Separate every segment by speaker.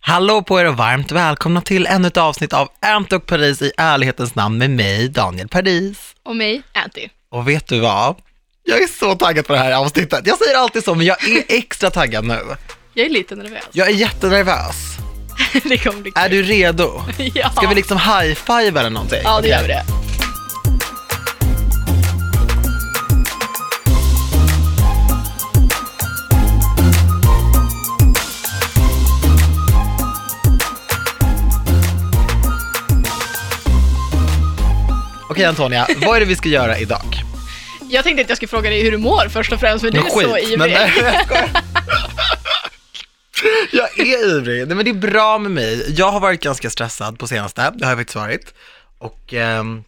Speaker 1: Hallå på er och varmt välkomna till ännu ett avsnitt av Antog Paris i ärlighetens namn med mig, Daniel Paris.
Speaker 2: Och mig, Anty.
Speaker 1: Och vet du vad? Jag är så taggad på det här avsnittet. Jag säger alltid så, men jag är extra taggad nu.
Speaker 2: Jag är lite nervös.
Speaker 1: Jag är jättenervös.
Speaker 2: det kommer bli kul.
Speaker 1: Är du redo?
Speaker 2: Ja.
Speaker 1: Ska vi liksom high-five eller någonting?
Speaker 2: ja, det gör vi det.
Speaker 1: Okej Antonia, vad är det vi ska göra idag?
Speaker 2: Jag tänkte att jag skulle fråga dig hur du mår först och främst, för du är
Speaker 1: Något
Speaker 2: så ivrig.
Speaker 1: men nej, jag skojar. Jag är ivrig, nej men det är bra med mig. Jag har varit ganska stressad på senaste, det har jag faktiskt varit. Och ehm,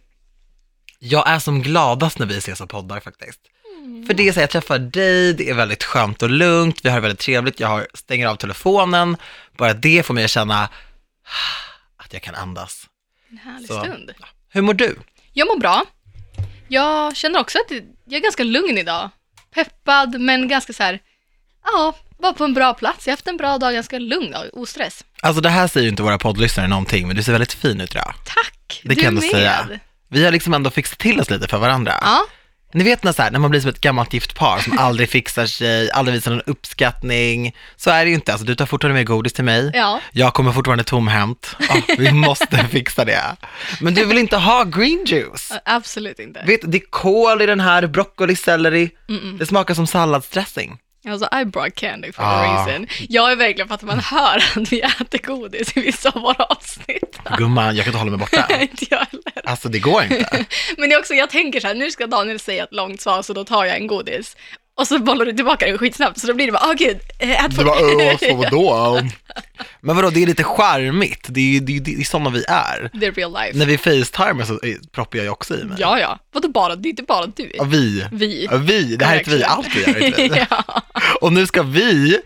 Speaker 1: jag är som gladast när vi ses och poddar faktiskt.
Speaker 2: Mm.
Speaker 1: För det är så här, jag träffar dig, det är väldigt skönt och lugnt, vi har det väldigt trevligt, jag har, stänger av telefonen. Bara det får mig att känna "Ah, att jag kan andas.
Speaker 2: En härlig
Speaker 1: Så.
Speaker 2: stund.
Speaker 1: Hur mår du?
Speaker 2: Jag mår bra. Jag känner också att jag är ganska lugn idag. Peppad, men ganska så här, ja, var på en bra plats. Jag har haft en bra dag, ganska lugn dag, ostress.
Speaker 1: Alltså det här säger ju inte våra poddlyssnare någonting, men du ser väldigt fin ut idag.
Speaker 2: Tack!
Speaker 1: Det
Speaker 2: du
Speaker 1: kan jag
Speaker 2: är
Speaker 1: ändå säga. Vi har liksom ändå fixat till oss lite för varandra.
Speaker 2: Ja,
Speaker 1: Ni vet när, så här, när man blir som ett gammalt gift par som aldrig fixar sig, aldrig visar någon uppskattning. Så är det ju inte. Alltså, du tar fortfarande med godis till mig.
Speaker 2: ja.
Speaker 1: Jag kommer fortfarande tomhänt. Ah, vi måste fixa det. Men du vill inte ha green juice.
Speaker 2: Absolut inte.
Speaker 1: Vet, det är kål i den här, broccoli, selleri. Det smakar som salladsdressing.
Speaker 2: Alltså I brought candy for
Speaker 1: Ah.
Speaker 2: a reason. Jag är verkligen för att man hör att vi äter godis i vissa av våra avsnitt.
Speaker 1: Gumman, jag kan inte hålla mig borta.
Speaker 2: inte jag heller.
Speaker 1: Alltså det går inte.
Speaker 2: Men det är också, jag tänker så här, nu ska Daniel säga ett långt svar så då tar jag en godis. Och så bollar du tillbaka den skitsnabbt så då blir det bara, åh gud, eh, ät på
Speaker 1: vadå? Men vadå, det är lite charmigt. Det är ju det är, det är sådana vi är.
Speaker 2: The real life.
Speaker 1: När vi facetimar så eh, proppar jag ju också i mig.
Speaker 2: Ja, ja. Vadå bara, det är inte bara du.
Speaker 1: Ja, vi.
Speaker 2: Vi.
Speaker 1: Ja, Vi, det här är ett vi,
Speaker 2: Verkligen.
Speaker 1: allt vi gör är ett vi.
Speaker 2: ja,
Speaker 1: Och nu ska vi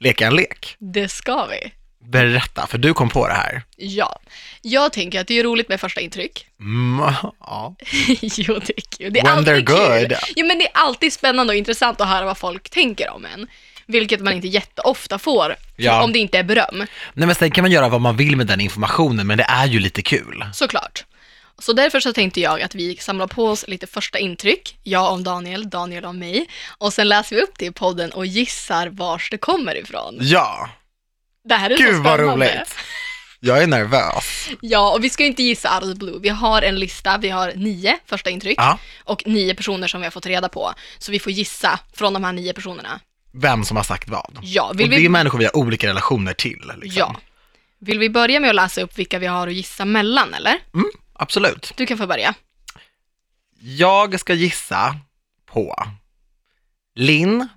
Speaker 1: leka en lek.
Speaker 2: det ska vi.
Speaker 1: Berätta, för du kom på det här.
Speaker 2: Ja. Jag tänker att det är roligt med första intryck.
Speaker 1: Mm, ja.
Speaker 2: jo, det är kul. Det är
Speaker 1: When
Speaker 2: alltid
Speaker 1: they're
Speaker 2: kul.
Speaker 1: good.
Speaker 2: Jo, men det är alltid spännande och intressant att höra vad folk tänker om en. Vilket man inte jätteofta får,
Speaker 1: Ja.
Speaker 2: om det inte är beröm.
Speaker 1: Nej men sen kan man göra vad man vill med den informationen, men det är ju lite kul.
Speaker 2: Såklart. Så därför så tänkte jag att vi samlar på oss lite första intryck, jag om Daniel, Daniel om mig, och sen läser vi upp det i podden och gissar vars det kommer ifrån.
Speaker 1: Ja,
Speaker 2: Det här är så
Speaker 1: gud vad
Speaker 2: spännande.
Speaker 1: roligt. Jag är nervös.
Speaker 2: Ja, och vi ska ju inte gissa out of the blue. Vi har en lista, vi har nio första intryck
Speaker 1: Ja.
Speaker 2: och nio personer som vi har fått reda på. Så vi får gissa från de här nio personerna.
Speaker 1: Vem som har sagt vad.
Speaker 2: Ja,
Speaker 1: Och
Speaker 2: vill
Speaker 1: det är
Speaker 2: vi,
Speaker 1: människor vi har olika relationer till. Liksom.
Speaker 2: ja. vill vi börja med att läsa upp vilka vi har att gissa mellan, eller?
Speaker 1: Mm, absolut.
Speaker 2: Du kan få börja.
Speaker 1: Jag ska gissa på Linn,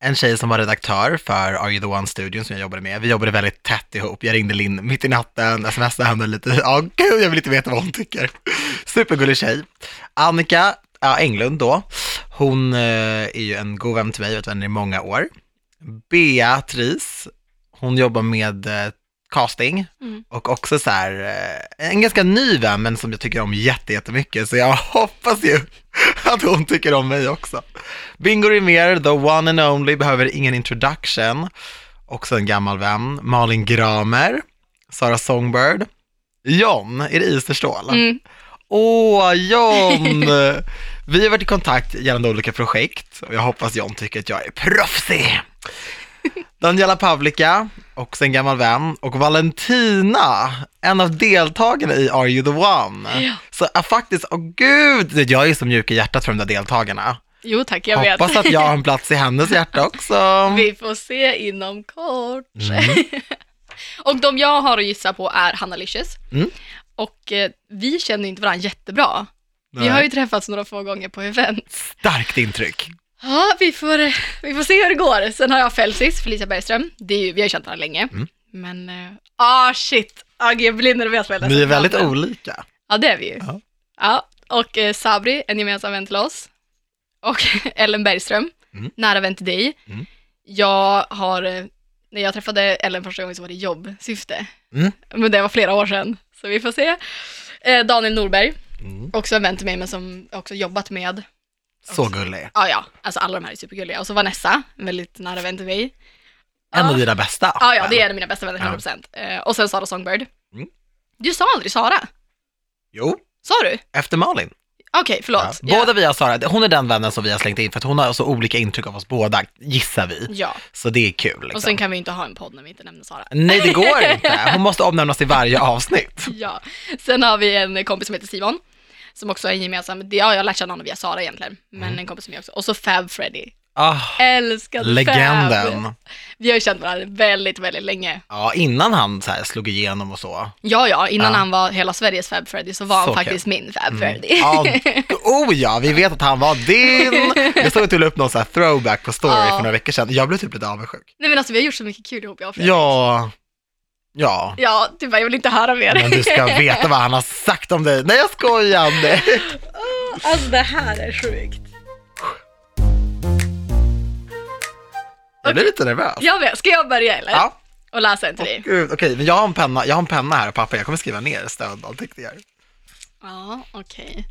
Speaker 1: en tjej som var redaktör för Are You The One-studion som jag jobbade med. Vi jobbade väldigt tätt ihop. Jag ringde Linn mitt i natten, smsade henne lite. Ja, gud, jag vill inte veta vad hon tycker. Supergullig tjej. Annika ja, Englund då. Hon eh, är ju en god vän till mig, jag har varit vänner i många år. Beatrice, hon jobbar med eh, casting
Speaker 2: Mm.
Speaker 1: och också så här, eh, en ganska ny vän men som jag tycker om jätte- jättemycket så jag hoppas ju att hon tycker om mig också. Bingo Rimér, the one and only, behöver ingen introduction. Också en gammal vän. Malin Gramer, Sara Songbird, John, är det Isterstål?
Speaker 2: Mm.
Speaker 1: Åh, John! Vi har varit i kontakt gällande olika projekt och jag hoppas John tycker att jag är proffsig. Daniela Pavlika, också en gammal vän, och Valentina, en av deltagarna i Are You The One.
Speaker 2: Ja.
Speaker 1: Så äh, faktiskt, åh gud, jag är som mjuk i hjärtat för de där deltagarna.
Speaker 2: Jo tack, jag vet.
Speaker 1: Hoppas att jag har en plats i hennes hjärta också.
Speaker 2: Vi får se inom kort.
Speaker 1: Mm.
Speaker 2: och de jag har att gissa på är Hanna Licious.
Speaker 1: Mm.
Speaker 2: Och eh, vi känner ju inte varandra jättebra. Vi
Speaker 1: Nej.
Speaker 2: har ju träffats några få gånger på event.
Speaker 1: Starkt intryck.
Speaker 2: Ja, vi får, vi får se hur det går. Sen har jag Felsis, Felicia Bergström. Det är ju, vi har ju känt varandra länge.
Speaker 1: Mm.
Speaker 2: Men, eh, ah shit, ah, gud, jag blir nervös med
Speaker 1: Ni är väldigt olika.
Speaker 2: Ja, det är vi ju.
Speaker 1: Ja.
Speaker 2: Ja. och eh, Sabri, en gemensam vän till oss. Och Ellen Bergström,
Speaker 1: Mm.
Speaker 2: nära vän till dig.
Speaker 1: Mm.
Speaker 2: Jag har, eh, när jag träffade Ellen första gången så var det jobbsyfte.
Speaker 1: Mm.
Speaker 2: Men det var flera år sedan, så vi får se. Eh, Daniel Norberg,
Speaker 1: Mm.
Speaker 2: också en vän till mig men som jag också jobbat med.
Speaker 1: Så gullig.
Speaker 2: Ja, ja, alltså alla de här är supergulliga. Och så Vanessa, en väldigt nära vän till mig.
Speaker 1: En
Speaker 2: Ja.
Speaker 1: av dina bästa.
Speaker 2: Ja, ja, det är en av mina bästa vänner,
Speaker 1: Ja.
Speaker 2: 100%. Eh, och sen Sara Songbird.
Speaker 1: Mm.
Speaker 2: Du sa aldrig Sara.
Speaker 1: Jo,
Speaker 2: Sa du?
Speaker 1: efter Malin.
Speaker 2: Okej, förlåt.
Speaker 1: Ja. Båda vi har Sara, hon är den vännen som vi har slängt in för att hon har så olika intryck av oss båda, gissar vi.
Speaker 2: Ja,
Speaker 1: Så det är kul. Liksom.
Speaker 2: och sen kan vi inte ha en podd när vi inte nämner Sara.
Speaker 1: Nej, det går inte. Hon måste omnämnas i varje avsnitt.
Speaker 2: Ja. Sen har vi en kompis som heter Simon, som också är en gemensam, det- ja, jag har lärt känna honom via Sara egentligen, men
Speaker 1: Mm.
Speaker 2: en kompis som jag också, och så Fab Freddy.
Speaker 1: Ah,
Speaker 2: Älskade Fab.
Speaker 1: legenden.
Speaker 2: Vi har ju känt varandra väldigt, väldigt länge.
Speaker 1: Ja, innan han så här slog igenom och så.
Speaker 2: Ja, ja, innan
Speaker 1: Ja.
Speaker 2: han var hela Sveriges Fab Freddy så var han
Speaker 1: Så kul. Mm.
Speaker 2: faktiskt min Fab Freddy.
Speaker 1: Ja, oh ja, vi vet att han var din. Jag såg att du la upp någon så här throwback på story
Speaker 2: Ja.
Speaker 1: för några veckor sedan. Jag blev typ lite avundsjuk.
Speaker 2: Nej men alltså vi har gjort så mycket kul ihop jag och Fredrik.
Speaker 1: Ja, ja.
Speaker 2: Ja, du bara, jag vill inte höra mer.
Speaker 1: Men du ska veta vad han har sagt om dig. Nej, jag skojar. Nej.
Speaker 2: Alltså det här är sjukt.
Speaker 1: Jag blir lite nervös.
Speaker 2: Jag vet, ska jag börja eller?
Speaker 1: Ja.
Speaker 2: Och läsa en till
Speaker 1: Åh,
Speaker 2: dig?
Speaker 1: Gud, okej, men jag har en penna, jag har en penna här och papper. Jag kommer skriva ner stödanteckningar.
Speaker 2: Ja, okej.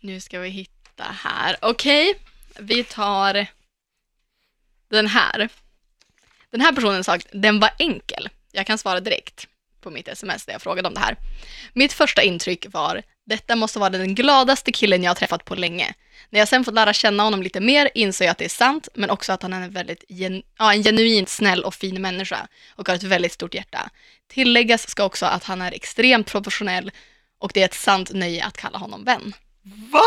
Speaker 2: Nu ska vi hitta här. Okej, vi tar den här. Den här personen sa att den var enkel. Jag kan svara direkt på mitt sms där jag frågade om det här. Mitt första intryck var, detta måste vara den gladaste killen jag har träffat på länge. När jag sen fått lära känna honom lite mer insåg jag att det är sant, men också att han är en väldigt gen- ja, en genuint snäll och fin människa och har ett väldigt stort hjärta. Tilläggas ska också att han är extremt professionell och det är ett sant nöje att kalla honom vän.
Speaker 1: Va?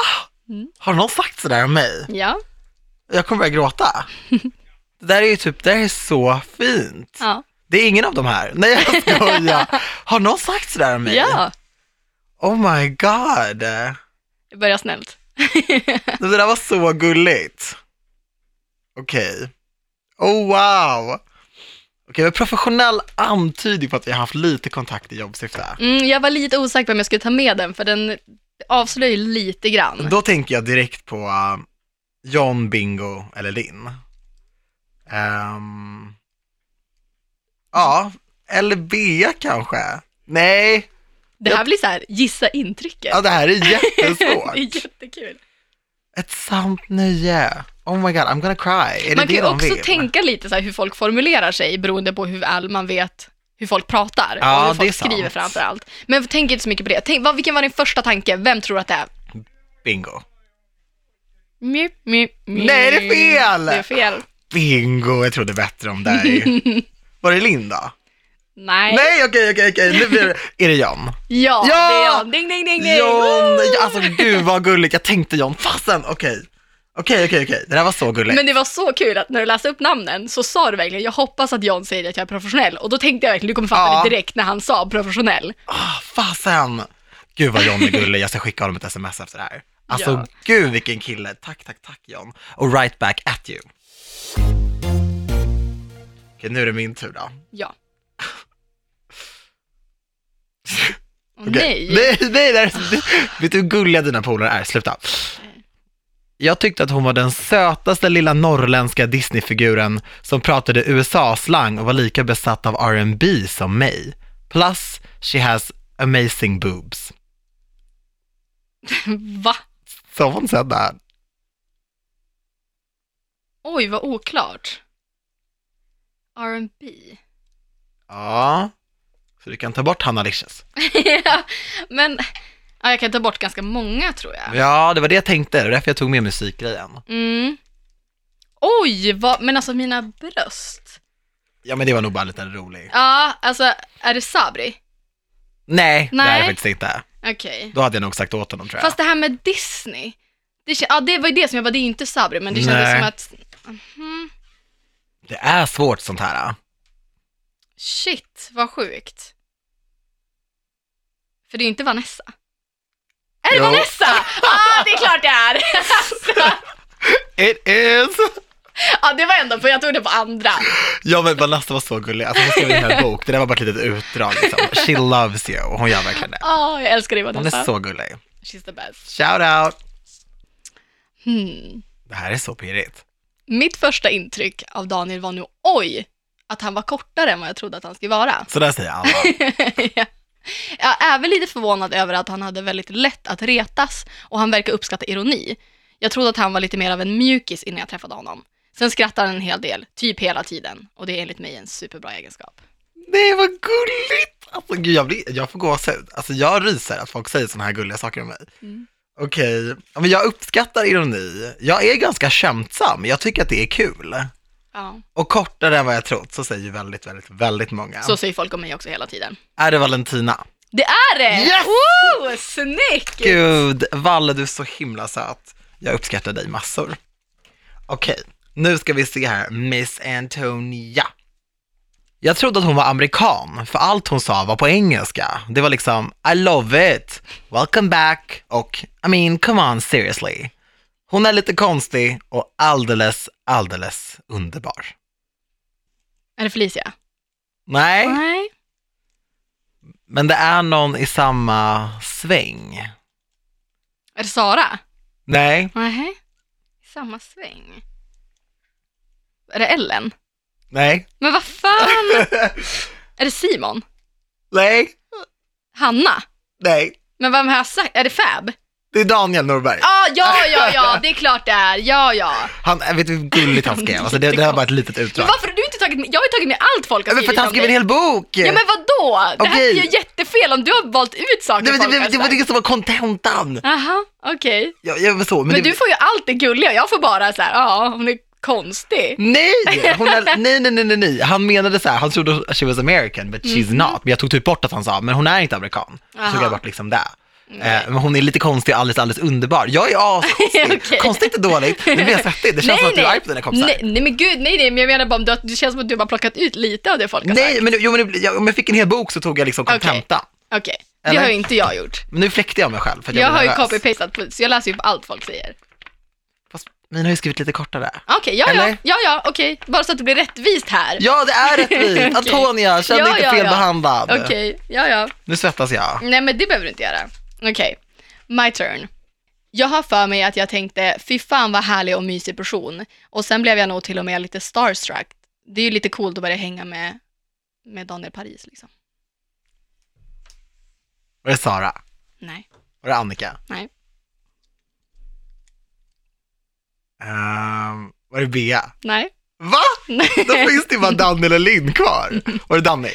Speaker 2: Mm.
Speaker 1: Har någon sagt sådär om mig?
Speaker 2: Ja.
Speaker 1: Jag kommer börja gråta. Det där är ju typ, det här är så fint.
Speaker 2: Ja.
Speaker 1: Det är ingen av de här. Nej, jag skojar. Har någon sagt sådär om mig?
Speaker 2: ja.
Speaker 1: Oh my god.
Speaker 2: Det börjar snällt.
Speaker 1: Det där var så gulligt. Okej. Oh wow. Okej, men professionell antyder på att vi har haft lite kontakt i jobbsyfte.
Speaker 2: Mm, jag var lite osäker på om jag skulle ta med den, för den avslöjar ju lite grann.
Speaker 1: Då tänker jag direkt på eh, John, Bingo eller Linn. Ehm, ja, eller Bea kanske. Nej,
Speaker 2: det här blir så här, gissa intrycket.
Speaker 1: ja, det här är
Speaker 2: det är
Speaker 1: jättesvårt.
Speaker 2: jättekul.
Speaker 1: Ett sant nöje. Oh my god, I'm gonna cry. Är det
Speaker 2: Man kan ju
Speaker 1: det de
Speaker 2: också
Speaker 1: vill?
Speaker 2: tänka lite så här hur folk formulerar sig beroende på hur väl man vet hur folk pratar
Speaker 1: Ja,
Speaker 2: och
Speaker 1: det
Speaker 2: hur
Speaker 1: är
Speaker 2: folk
Speaker 1: sant.
Speaker 2: skriver framför allt. Men tänk inte så mycket på det. Tänk, vad, vilken var din första tanke? Vem tror att det är?
Speaker 1: Bingo.
Speaker 2: Mjö, mjö, mjö.
Speaker 1: Nej, det är fel!
Speaker 2: Det är fel.
Speaker 1: Bingo, jag trodde bättre om dig. Var det Linda?
Speaker 2: Nej.
Speaker 1: Nej, okej, okej, okej, nu blir det... Är det John?
Speaker 2: Ja,
Speaker 1: Ja!
Speaker 2: det är jag. Ding, ding, ding, ding.
Speaker 1: John! Alltså gud vad gulligt, jag tänkte John, fasen, okej. Okej, okej, okej, det där var så gulligt.
Speaker 2: Men det var så kul att när du läste upp namnen så sa du verkligen jag hoppas att John säger att jag är professionell och då tänkte jag verkligen du kommer fatta
Speaker 1: Ja.
Speaker 2: det direkt när han sa professionell.
Speaker 1: Ah, fasen! Gud vad John är gullig, jag ska skicka honom ett sms efter det här. Alltså
Speaker 2: Ja.
Speaker 1: gud vilken kille, tack, tack, tack John. Och right back at you. Okej, nu är det min tur då.
Speaker 2: Ja. Åh
Speaker 1: Okej.
Speaker 2: nej.
Speaker 1: Nej, nej, det här är så- det- Vet du hur gulliga dina polare är? Sluta. Jag tyckte att hon var den sötaste lilla norrländska Disneyfiguren som pratade USA-slang och var lika besatt av R&B som mig. Plus, she has amazing boobs.
Speaker 2: Va?
Speaker 1: Someone said that.
Speaker 2: Oj, vad oklart. R&B.
Speaker 1: Ja, så du kan ta bort Hanna Licious.
Speaker 2: Ja, Men ja, jag kan ta bort ganska många tror jag.
Speaker 1: Ja, det var det jag tänkte, det var därför jag tog med musikgrejen.
Speaker 2: Mm. Oj, vad, men alltså mina bröst.
Speaker 1: Ja, men det var nog bara lite rolig.
Speaker 2: Ja, alltså är det Sabri?
Speaker 1: Nej, det är
Speaker 2: Nej.
Speaker 1: det faktiskt inte.
Speaker 2: Okej.
Speaker 1: Då hade jag nog sagt åt honom tror jag.
Speaker 2: Fast det här med Disney, det, kän- ja, det var ju det som jag bara, det är ju inte Sabri, men det kändes
Speaker 1: Nej.
Speaker 2: som att, mhm,
Speaker 1: Det är svårt sånt här. äh.
Speaker 2: shit vad sjukt. För det är ju inte Vanessa. Är det
Speaker 1: Jo.
Speaker 2: Vanessa? Ah, det är klart det är!
Speaker 1: It is!
Speaker 2: ja, det var ändå på, jag tog det på andra.
Speaker 1: Ja men Vanessa var så gullig, alltså hon skrev in en bok, det där var bara ett litet utdrag liksom. She loves you, och hon gör verkligen det.
Speaker 2: Ah, jag älskar dig
Speaker 1: Hon är
Speaker 2: Vanessa.
Speaker 1: så gullig.
Speaker 2: She's the best.
Speaker 1: Shout out!
Speaker 2: Hmm.
Speaker 1: Det här är så pirrigt.
Speaker 2: Mitt första intryck av Daniel var nu, oj, att han var kortare än vad jag trodde att han skulle vara.
Speaker 1: Så där säger alla.
Speaker 2: ja. Jag är även lite förvånad över att han hade väldigt lätt att retas och han verkar uppskatta ironi. Jag trodde att han var lite mer av en mjukis innan jag träffade honom. Sen skrattar han en hel del, typ hela tiden. Och det är enligt mig en superbra egenskap.
Speaker 1: Nej, vad gulligt! Alltså, gud, jag, blir, jag får gå Alltså, jag ryser att folk säger sådana här gulliga saker om mig.
Speaker 2: Mm.
Speaker 1: Okej, ja, men jag uppskattar ironi. Jag är ganska skämtsam. Jag tycker att det är kul.
Speaker 2: Ja.
Speaker 1: Och kortare än vad jag trott, så säger ju väldigt, väldigt, väldigt många.
Speaker 2: Så säger folk om mig också hela tiden.
Speaker 1: Är det Valentina?
Speaker 2: Det är det!
Speaker 1: Yes!
Speaker 2: Woo! Snyggt!
Speaker 1: Gud, Valle, du är så himla söt. Jag uppskattar dig massor. Okej, nu ska vi se här. Miss Antonia. Jag trodde att hon var amerikan, för allt hon sa var på engelska. Det var liksom I love it, welcome back och I mean come on seriously. Hon är lite konstig och alldeles, alldeles underbar.
Speaker 2: Är det Felicia?
Speaker 1: Nej,
Speaker 2: Nej.
Speaker 1: men det är någon i samma sväng.
Speaker 2: Är det Sara?
Speaker 1: Nej,
Speaker 2: Nej. Samma sväng. Är det Ellen?
Speaker 1: nej,
Speaker 2: Men vad fan! är det Simon?
Speaker 1: nej,
Speaker 2: Hanna?
Speaker 1: nej.
Speaker 2: Men vem har jag sagt? Är det Fab?
Speaker 1: Det är Daniel Norberg.
Speaker 2: Ah, ja, ja, ja, det är klart det är. Ja, ja.
Speaker 1: Han, jag vet du hur gulligt han skrev? Alltså, det, det här är bara ett litet
Speaker 2: Men
Speaker 1: utdrag.
Speaker 2: varför har du inte tagit med? Jag har ju tagit med allt folk har
Speaker 1: Men för att
Speaker 2: skrivit
Speaker 1: han
Speaker 2: om
Speaker 1: skrev en
Speaker 2: dig.
Speaker 1: hel bok!
Speaker 2: Ja, men vadå? Det här är
Speaker 1: Okej.
Speaker 2: ju jättefel om du har valt ut saker
Speaker 1: det, det,
Speaker 2: folk
Speaker 1: det,
Speaker 2: har
Speaker 1: det var
Speaker 2: sagt.
Speaker 1: det som var kontentan!
Speaker 2: Aha, okej.
Speaker 1: Ja, ja, men så, men
Speaker 2: Men,
Speaker 1: det,
Speaker 2: du får ju allt det gulliga, jag får bara så här, ja, hon är konstig.
Speaker 1: Nej! Hon är, nej, nej, nej, nej, nej. Han menade så här, han trodde she was American, but she's not. Men jag tog typ bort att han sa, men hon är inte amerikan. Så tog
Speaker 2: Mm. Aha.
Speaker 1: jag bort liksom det. Eh, men hon är lite konstig och alldeles, alldeles underbar. Jag är askonstig.
Speaker 2: Okej.
Speaker 1: Konstigt är dåligt, nu blir jag svettig. Det känns som att du är arg på dina kompisar.
Speaker 2: nej, nej men gud, nej, nej, men jag menar bara om du, att det känns som att du bara plockat ut lite av det folk har sagt.
Speaker 1: Nej, men, jo, men det- jag, om jag fick en hel bok så tog jag liksom
Speaker 2: Okej.
Speaker 1: kontentan.
Speaker 2: Okej, det
Speaker 1: Eller?
Speaker 2: har ju inte jag gjort.
Speaker 1: Men nu fläkte jag mig själv för att
Speaker 2: Jag,
Speaker 1: jag, blev
Speaker 2: har ju
Speaker 1: nervös.
Speaker 2: copy-pastat, på- så jag läser ju på allt folk säger.
Speaker 1: Fast mina har ju skrivit lite kortare.
Speaker 2: Okej, ja, ja,
Speaker 1: Eller?
Speaker 2: ja, ja, okej, bara så att det blir rättvist här.
Speaker 1: Ja, det är rättvist.
Speaker 2: Okej.
Speaker 1: Antonia, känn dig
Speaker 2: Ja,
Speaker 1: inte
Speaker 2: ja, ja.
Speaker 1: felbehandlad.
Speaker 2: Okej, ja, ja.
Speaker 1: Nu svettas jag.
Speaker 2: Nej, men det behöver du inte göra. Okej, my turn. Jag har för mig att jag tänkte, fy fan vad härlig och mysig person. Och sen blev jag nog till och med lite starstruck. Det är ju lite coolt att börja hänga med, med Daniel Paris liksom.
Speaker 1: Var det Sara?
Speaker 2: Nej.
Speaker 1: Var det Annika?
Speaker 2: Nej.
Speaker 1: Ehm, var det Bea?
Speaker 2: Nej.
Speaker 1: Va? Då finns det ju bara Daniel och Linn kvar. Var det Danny?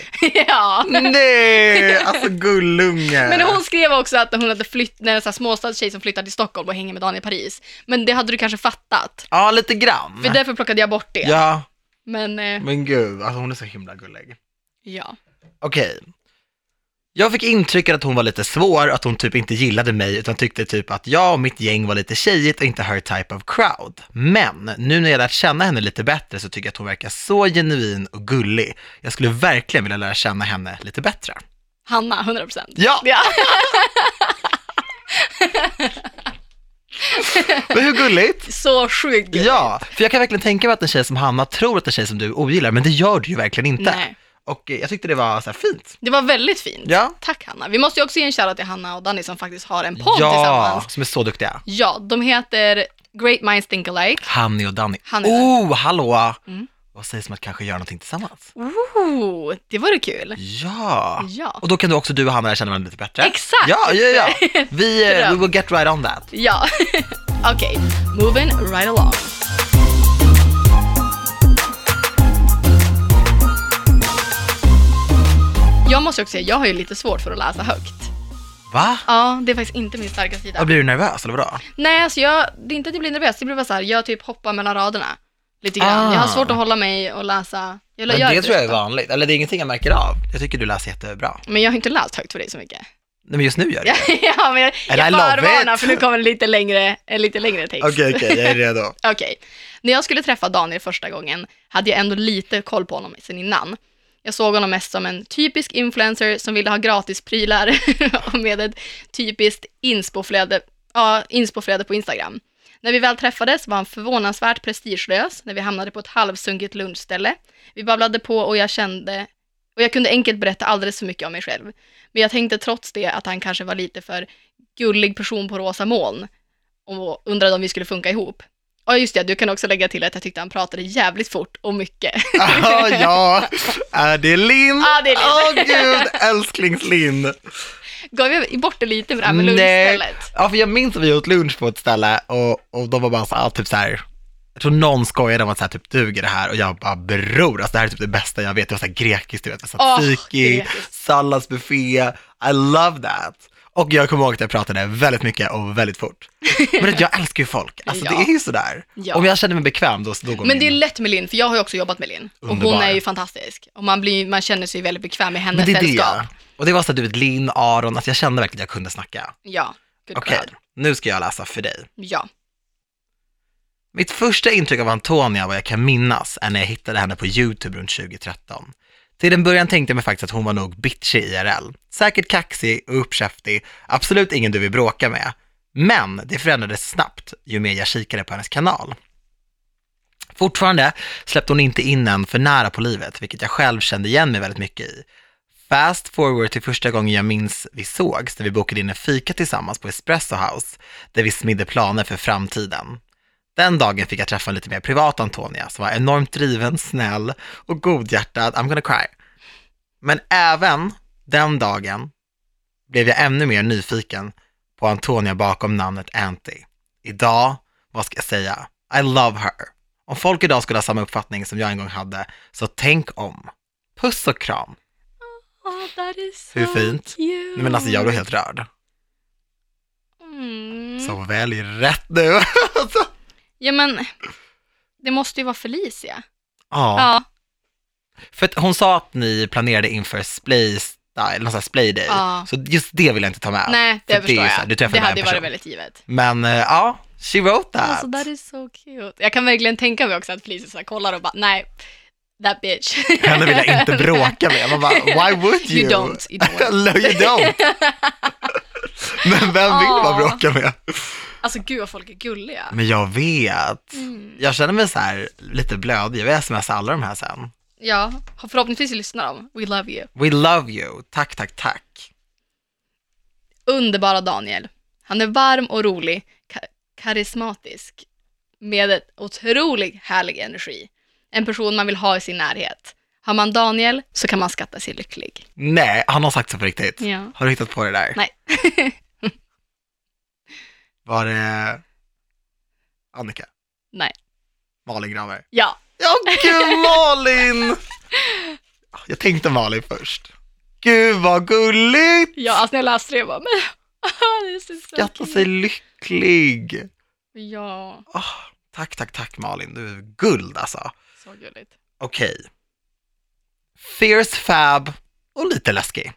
Speaker 2: ja.
Speaker 1: Nej, alltså gullunge.
Speaker 2: Men hon skrev också att hon hade flytt, när en sån här småstadstjej som flyttade till Stockholm och hänger med Daniel Paris. Men det hade du kanske fattat.
Speaker 1: Ja, lite grann.
Speaker 2: För därför plockade jag bort det.
Speaker 1: Ja,
Speaker 2: Men, eh,
Speaker 1: men gud, alltså hon är så himla gullig.
Speaker 2: ja.
Speaker 1: Okej. Jag fick intrycket att hon var lite svår, att hon typ inte gillade mig utan tyckte typ att jag och mitt gäng var lite tjejigt och inte her type of crowd. Men nu när jag lärt känna henne lite bättre så tycker jag att hon verkar så genuin och gullig. Jag skulle verkligen vilja lära känna henne lite bättre.
Speaker 2: Hanna, 100%.
Speaker 1: Ja,
Speaker 2: Ja.
Speaker 1: men hur gulligt?
Speaker 2: Så sjukt gulligt.
Speaker 1: Ja, för jag kan verkligen tänka mig att en tjej som Hanna tror att en tjej som du ogillar, men det gör du ju verkligen inte.
Speaker 2: Nej.
Speaker 1: Och eh, jag tyckte det var så här fint.
Speaker 2: Det var väldigt fint.
Speaker 1: Ja,
Speaker 2: Tack Hanna. Vi måste ju också ge en shoutout till Hanna och Danny som faktiskt har en podd
Speaker 1: ja
Speaker 2: tillsammans.
Speaker 1: som är så duktiga.
Speaker 2: Ja, de heter Great Minds Think Alike.
Speaker 1: Hanni och Danny.
Speaker 2: Hanni och
Speaker 1: Oh, hallå!
Speaker 2: Mm.
Speaker 1: Vad sägs om att kanske göra någonting tillsammans?
Speaker 2: Ooh, det vore kul.
Speaker 1: Ja!
Speaker 2: Oh. Ja.
Speaker 1: Och då kan du också, du och Hanna lära känna varandra lite bättre.
Speaker 2: Exakt!
Speaker 1: Ja, ja, ja. Vi, eh, we
Speaker 2: Dröm.
Speaker 1: will get right on that.
Speaker 2: Ja. Okej, moving right along. Jag måste också säga, jag har ju lite svårt för att läsa högt.
Speaker 1: Va?
Speaker 2: Ja, det är faktiskt inte min starka
Speaker 1: Ja.
Speaker 2: sida.
Speaker 1: Blir du nervös eller vadå?
Speaker 2: Nej, alltså jag, det är inte att jag blir nervös, det blir bara så här, jag typ hoppar mellan raderna. Lite grann.
Speaker 1: Ah.
Speaker 2: Jag har svårt att hålla mig och läsa. Jag
Speaker 1: Men
Speaker 2: gör
Speaker 1: det
Speaker 2: inte
Speaker 1: tror jag är
Speaker 2: ofta.
Speaker 1: vanligt. Eller det är ingenting jag märker av. Jag tycker du läser jättebra.
Speaker 2: Men jag har inte läst högt för dig så mycket.
Speaker 1: Nej men just nu gör du
Speaker 2: Ja,
Speaker 1: det.
Speaker 2: ja men jag,
Speaker 1: And I
Speaker 2: jag
Speaker 1: love
Speaker 2: förvarnar
Speaker 1: it.
Speaker 2: för nu kommer det lite längre, en lite längre text.
Speaker 1: Okej, okej, jag är redo.
Speaker 2: Okej. När jag skulle träffa Daniel första gången hade jag ändå lite koll på honom sen innan. Jag såg honom mest som en typisk influencer som ville ha gratis prylar och med ett typiskt inspoflöde, ja, inspoflöde på Instagram. När vi väl träffades var han förvånansvärt prestigelös när vi hamnade på ett halvsunkigt lunchställe. Vi babblade på och jag kände och jag kunde enkelt berätta alldeles för mycket om mig själv. Men jag tänkte trots det att han kanske var lite för gullig person på rosa moln och undrade om vi skulle funka ihop. Ja just det, du kan också lägga till att jag tyckte han pratade jävligt fort och mycket.
Speaker 1: Ah, ja, är det Linn?
Speaker 2: Ja, det är Linn.
Speaker 1: Åh gud, älsklings-Linn.
Speaker 2: Gav jag bort det lite med det här med
Speaker 1: Nej.
Speaker 2: lunchstället?
Speaker 1: Ja, för jag minns att vi åt lunch på ett ställe och, och de var bara så här, typ så här, jag tror någon skojade om att så här, typ duger det här och jag bara bror, alltså det här är typ det bästa jag vet. Det var så här grekiskt, du vet,
Speaker 2: Åh,
Speaker 1: tzatziki,
Speaker 2: grekiskt.
Speaker 1: salladsbuffé, I love that. Och jag kommer ihåg att jag pratade väldigt mycket och väldigt fort. Men vet, du, jag älskar ju folk, alltså
Speaker 2: Ja.
Speaker 1: det är ju sådär.
Speaker 2: Ja.
Speaker 1: Om jag känner mig bekväm då, då går
Speaker 2: Men det är
Speaker 1: min-
Speaker 2: lätt med Linn, för jag har ju också jobbat med Linn. Och hon
Speaker 1: Underbar.
Speaker 2: är ju fantastisk. Och man, blir, man känner sig väldigt bekväm i hennes
Speaker 1: Men det är
Speaker 2: sällskap.
Speaker 1: det. Och det var så att du vet, Linn, Aron, alltså jag kände verkligen att jag kunde snacka.
Speaker 2: Ja, good
Speaker 1: Okej,
Speaker 2: crowd.
Speaker 1: nu ska jag läsa för dig.
Speaker 2: Ja.
Speaker 1: Mitt första intryck av Antonia, vad jag kan minnas, är när jag hittade henne på YouTube runt 2013. Till en början tänkte jag mig faktiskt att hon var nog bitchig IRL. Säkert kaxig och uppkäftig, absolut ingen du vill bråka med. Men det förändrades snabbt ju mer jag kikade på hennes kanal. Fortfarande släppte hon inte in en för nära på livet, vilket jag själv kände igen mig väldigt mycket i. Fast forward till första gången jag minns vi sågs, när vi bokade in en fika tillsammans på Espresso House, där vi smidde planer för framtiden. Den dagen fick jag träffa en lite mer privat Antonia som var enormt driven, snäll och godhjärtad. I'm gonna cry. Men även den dagen blev jag ännu mer nyfiken på Antonia bakom namnet Anty. Idag, vad ska jag säga? I love her. Om folk idag skulle ha samma uppfattning som jag en gång hade, så tänk om. Puss och kram.
Speaker 2: Oh, that is so
Speaker 1: Hur fint?
Speaker 2: Cute.
Speaker 1: Nej, men alltså jag blev helt rörd.
Speaker 2: Mm.
Speaker 1: Så välj rätt nu.
Speaker 2: Ja, men det måste ju vara Felicia.
Speaker 1: ja.
Speaker 2: Ja,
Speaker 1: För att hon sa att ni planerade inför Splay Style, någon sån här Splay Day.
Speaker 2: Ja.
Speaker 1: Så just det vill jag inte ta med.
Speaker 2: nej, det
Speaker 1: För
Speaker 2: förstår
Speaker 1: är så här, Du
Speaker 2: jag.
Speaker 1: träffade
Speaker 2: Det
Speaker 1: bara
Speaker 2: hade ju
Speaker 1: en
Speaker 2: varit
Speaker 1: person.
Speaker 2: väldigt givet.
Speaker 1: Men eh, ja, she wrote that.
Speaker 2: Alltså that is so cute. Jag kan verkligen tänka mig också att Felicia så här kollar och bara, nej, that bitch.
Speaker 1: Henne vill jag inte bråka med. Man bara, why would you?
Speaker 2: You don't, you don't.
Speaker 1: no, you don't. Men vem vill man
Speaker 2: Åh.
Speaker 1: bråka med?
Speaker 2: Alltså gud vad folk är gulliga.
Speaker 1: Men jag vet.
Speaker 2: Mm.
Speaker 1: Jag känner mig så här lite blödig. Jag vill smsa alla de här sen.
Speaker 2: Ja, förhoppningsvis lyssnar de. We love you.
Speaker 1: We love you. Tack, tack, tack.
Speaker 2: Underbara Daniel. Han är varm och rolig, ka- karismatisk, med ett otroligt härlig energi. En person man vill ha i sin närhet. Har man Daniel så kan man skatta sig lycklig.
Speaker 1: Nej, har någon sagt så på riktigt?
Speaker 2: Ja.
Speaker 1: Har du hittat på det där?
Speaker 2: Nej.
Speaker 1: Var det Annika?
Speaker 2: Nej.
Speaker 1: Malin Gramer?
Speaker 2: Ja.
Speaker 1: Ja, gud Malin! Jag tänkte Malin först. Gud vad gulligt!
Speaker 2: Ja, alltså när jag läste det jag bara, men... det är så
Speaker 1: Skratta
Speaker 2: cute.
Speaker 1: sig lycklig.
Speaker 2: Ja,
Speaker 1: Åh, tack, tack, tack Malin. Du är guld alltså.
Speaker 2: så gulligt.
Speaker 1: Okej. Fierce Fab och lite läskig.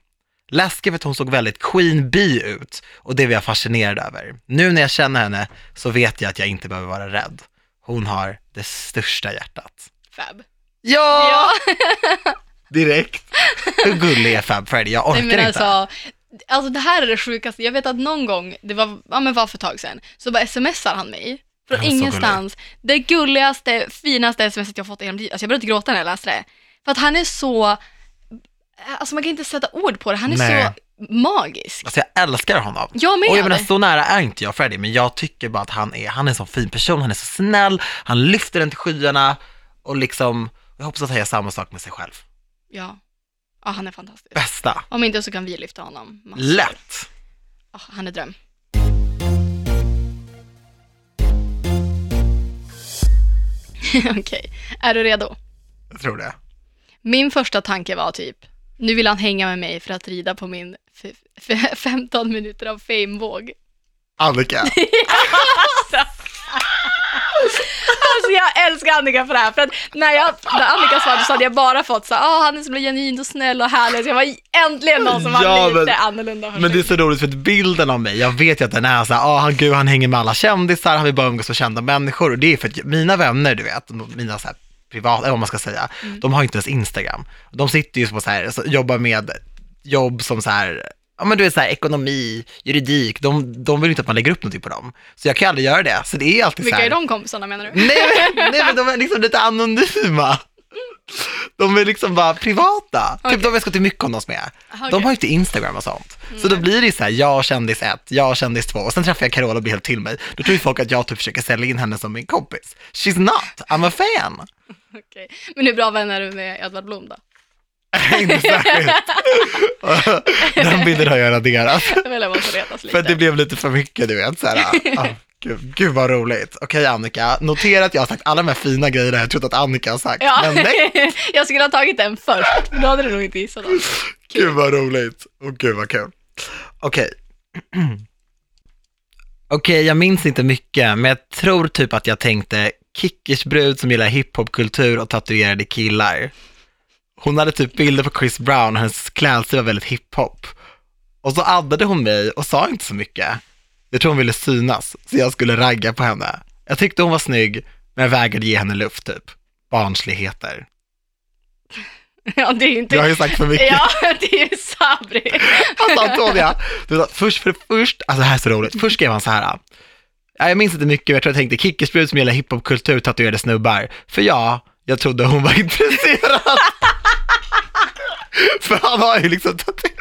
Speaker 1: Läskig för att hon såg väldigt Queen Bee ut och det var jag fascinerad över. Nu när jag känner henne så vet jag att jag inte behöver vara rädd. Hon har det största hjärtat.
Speaker 2: Fab.
Speaker 1: Ja!
Speaker 2: Ja,
Speaker 1: Direkt. Hur gullig är Fab Freddy? Jag orkar
Speaker 2: nej men
Speaker 1: inte.
Speaker 2: alltså, alltså det här är det sjukaste. Jag vet att någon gång, det var, ja men var för ett tag sedan, så bara smsar han mig från
Speaker 1: Han var så
Speaker 2: ingenstans. Det gulligaste, finaste smset jag fått i hela mitt liv. Alltså jag började gråta när jag läste det. För att han är så, alltså man kan inte sätta ord på det, han är
Speaker 1: Nej.
Speaker 2: så magisk.
Speaker 1: Alltså jag älskar honom.
Speaker 2: Jag med.
Speaker 1: Och jag menar, så nära är inte jag Freddy, men jag tycker bara att han är, han är en sån fin person, han är så snäll, han lyfter den till skyarna och liksom, jag hoppas att han gör samma sak med sig själv.
Speaker 2: ja. ja, han är fantastisk.
Speaker 1: Bästa.
Speaker 2: Om inte så kan vi lyfta honom. massor.
Speaker 1: Lätt.
Speaker 2: Ja, Ah, han är dröm. Okej, är du redo?
Speaker 1: Jag tror det.
Speaker 2: Min första tanke var typ, nu vill han hänga med mig för att rida på min f- f- 15 minuter av fame-våg.
Speaker 1: Annika.
Speaker 2: Alltså jag älskar Annika för det här, för att när, jag, när Annika svarade så hade jag bara fått så här, "Ah, han är så genuint och snäll och härlig, så jag var äntligen någon som var
Speaker 1: Ja,
Speaker 2: lite
Speaker 1: men-
Speaker 2: annorlunda.
Speaker 1: Men det är så roligt för att bilden av mig, jag vet ju att den är så här, ah, han, gud, han hänger med alla kändisar, han vill bara umgås med kända människor. Och det är för att mina vänner, du vet, mina så här privata, eller vad man ska säga,
Speaker 2: Mm.
Speaker 1: de har ju inte ens Instagram. De sitter ju på så här, så jobbar med jobb som så här, ja men du är så här ekonomi, juridik, de, de vill ju inte att man lägger upp någonting på dem. Så jag kan ju aldrig göra det, så det är alltid så
Speaker 2: Vilka
Speaker 1: här.
Speaker 2: är de kompisarna menar du?
Speaker 1: Nej men, nej men de är liksom lite anonyma. De är liksom bara privata.
Speaker 2: Okej.
Speaker 1: Typ de jag ska till Mykonos med.
Speaker 2: Aha,
Speaker 1: De
Speaker 2: okej.
Speaker 1: har ju inte Instagram och sånt. Så då blir det så här, jag kändis ett, jag kändis två och sen träffar jag Carola och blir helt till mig. Då tror ju folk att jag typ försöker sälja in henne som min kompis. She's not, I'm a fan.
Speaker 2: Okej. Men hur bra vän är du med Edvard Blom då?
Speaker 1: inte särskilt. Den bilden har jag raderat.
Speaker 2: Det vill jag bara få retas lite.
Speaker 1: För att det blev lite för mycket, du vet. Så här, ah, Gud, gud vad roligt. Okej Annika, notera att jag har sagt alla de här fina grejerna jag trott att Annika har sagt.
Speaker 2: Ja.
Speaker 1: Men nej,
Speaker 2: jag skulle ha tagit den först, men då hade du nog inte gissat. den.
Speaker 1: gud vad roligt. Och gud vad kul. Okej. Okej, jag minns inte mycket, men jag tror typ att jag tänkte kickersbrud som gillar hiphopkultur och tatuerade killar. Hon hade typ bilder på Chris Brown och hennes klädstil var väldigt hiphop. Och så addade hon mig och sa inte så mycket. Jag tror hon ville synas, så jag skulle ragga på henne. Jag tyckte hon var snygg, men jag vägrade ge henne luft typ. Barnsligheter.
Speaker 2: Ja, det är ju inte...
Speaker 1: Jag har ju sagt för mycket.
Speaker 2: Ja, det är ju Sabri.
Speaker 1: Alltså Antonia, du vet, först för först, alltså det här är så roligt, först skrev han så här. "Ja, Jag minns inte mycket, men jag tror jag tänkte kickersbrud som gillar hiphopkultur, tatuerade snubbar. För ja, jag trodde hon var intresserad. för han har ju liksom tatuerat.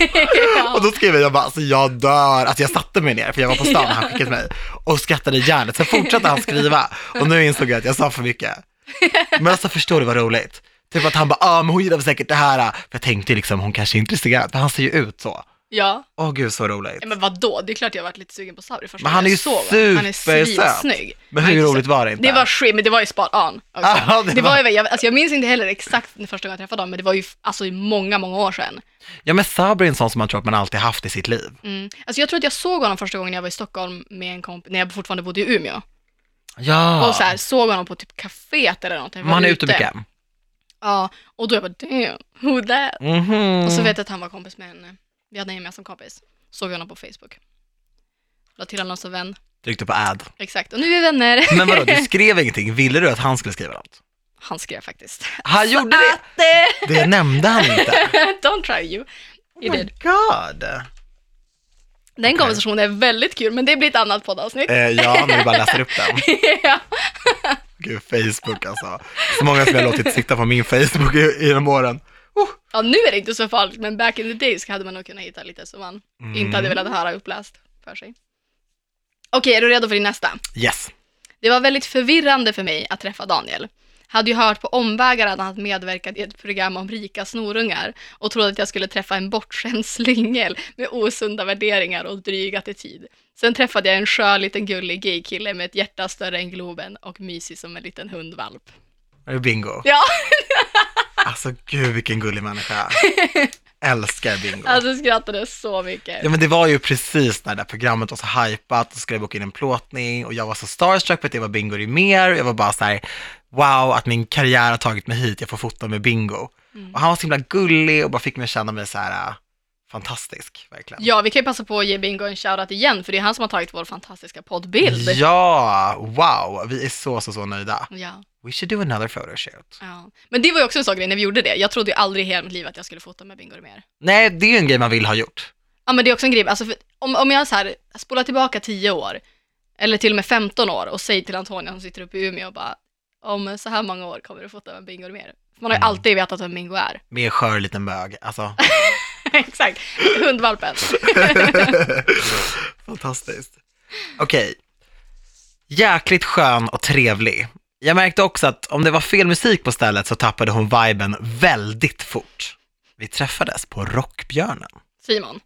Speaker 1: Och
Speaker 2: ja.
Speaker 1: då skrev jag bara, alltså jag dör. Alltså jag satte mig ner, för jag var på stan och han skickade mig. Och skrattade hjärnet. Sen fortsatte han skriva. Och nu insåg jag att jag sa för mycket. Men alltså förstår du vad roligt? Typ att han bara, ja ah, men hon gillar väl säkert det här. För jag tänkte ju liksom, hon kanske är intresserad. För han ser ju ut så.
Speaker 2: ja.
Speaker 1: Åh gud så roligt.
Speaker 2: Ja, Men vadå? Det är klart jag varit lite sugen på Sabri först.
Speaker 1: Men han är ju supersöt.
Speaker 2: svinsnygg.
Speaker 1: Men
Speaker 2: Han är
Speaker 1: hur
Speaker 2: inte så-
Speaker 1: roligt var det inte?
Speaker 2: Det var skit, men det var ju spot on. också.
Speaker 1: Ja, det
Speaker 2: det
Speaker 1: var-
Speaker 2: var... ju- jag, alltså jag minns inte heller exakt den första gången jag träffade honom, men det var ju f- alltså, i många, många år sedan.
Speaker 1: Ja men Sabri är en sån som man tror att man alltid haft i sitt liv.
Speaker 2: Mm. Alltså jag tror att jag såg honom första gången när jag var i Stockholm med en kompis, när jag fortfarande bodde i Umeå.
Speaker 1: Ja.
Speaker 2: Och så här, såg honom på typ kaféet eller något. Jag var
Speaker 1: man Ah. är ute mycket.
Speaker 2: Ja, och då jag bara damn, who that?
Speaker 1: Mhm.
Speaker 2: Och så vet jag att han var kompis med en, vi hade en gemensam kompis. Såg honom på Facebook. La till honom som vän.
Speaker 1: Tryckte på ad.
Speaker 2: Exakt, och nu är vi vänner.
Speaker 1: Men vadå, du skrev ingenting. Ville du att han skulle skriva något?
Speaker 2: Han skrev faktiskt.
Speaker 1: Han gjorde det!
Speaker 2: Atte!
Speaker 1: Det nämnde han inte.
Speaker 2: Don't try you. You
Speaker 1: Oh my
Speaker 2: did.
Speaker 1: god.
Speaker 2: Den konversationen är väldigt kul, men det blir ett annat poddavsnitt.
Speaker 1: Eh, ja, men vi bara läser upp den.
Speaker 2: ja.
Speaker 1: Gud, Facebook alltså. Så många som jag har låtit sitta på min Facebook i- genom åren. Oh.
Speaker 2: ja, nu är det inte så farligt, men back in the days hade man nog kunnat hitta lite som man
Speaker 1: Mm,
Speaker 2: inte hade velat höra uppläst för sig. Okej, är du redo för din nästa?
Speaker 1: Yes.
Speaker 2: Det var väldigt förvirrande för mig att träffa Daniel. Hade ju hört på omvägar att han medverkat i ett program om rika snorungar och trodde att jag skulle träffa en bortskämd slyngel med osunda värderingar och dryg attityd. Sen träffade jag en skör liten gullig gaykille med ett hjärta större än Globen och mysig som en liten hundvalp.
Speaker 1: Det är bingo.
Speaker 2: Ja,
Speaker 1: Alltså gud, vilken gullig människa. Älskar bingo.
Speaker 2: alltså skrattade så mycket.
Speaker 1: Ja men det var ju precis när det där programmet var så hypat och skulle boka in en plåtning och jag var så starstruck för att det var Bingo mer. Jag var bara så här, wow att min karriär har tagit mig hit, jag får fota med Bingo. Och han var så himla gullig och bara fick mig att känna mig så här äh, fantastisk, verkligen.
Speaker 2: Ja, vi kan ju passa på att ge Bingo en shoutout igen, för det är han som har tagit vår fantastiska poddbild.
Speaker 1: Ja, wow, vi är så, så, så nöjda.
Speaker 2: Ja,
Speaker 1: We should do another photoshoot.
Speaker 2: ja. Men det var ju också en sån grej när vi gjorde det. Jag trodde ju aldrig i hela mitt liv att jag skulle fota med Bingo mer.
Speaker 1: Nej, det är ju en grej man vill ha gjort.
Speaker 2: Ja men det är också en grej, alltså för, om, om jag så här, spolar tillbaka 10 år, eller till och med 15 år och säger till Antonia som sitter uppe i Umeå och bara om så här många år kommer du fota med Bingo mer. För man har ju
Speaker 1: Mm.
Speaker 2: alltid vetat vem Bingo är.
Speaker 1: Med en skör liten bög, alltså.
Speaker 2: Exakt, hundvalpen.
Speaker 1: Fantastiskt. Okej. Jäkligt skön och trevlig. Jag märkte också att om det var fel musik på stället så tappade hon viben väldigt fort. Vi träffades på Rockbjörnen.
Speaker 2: Simon.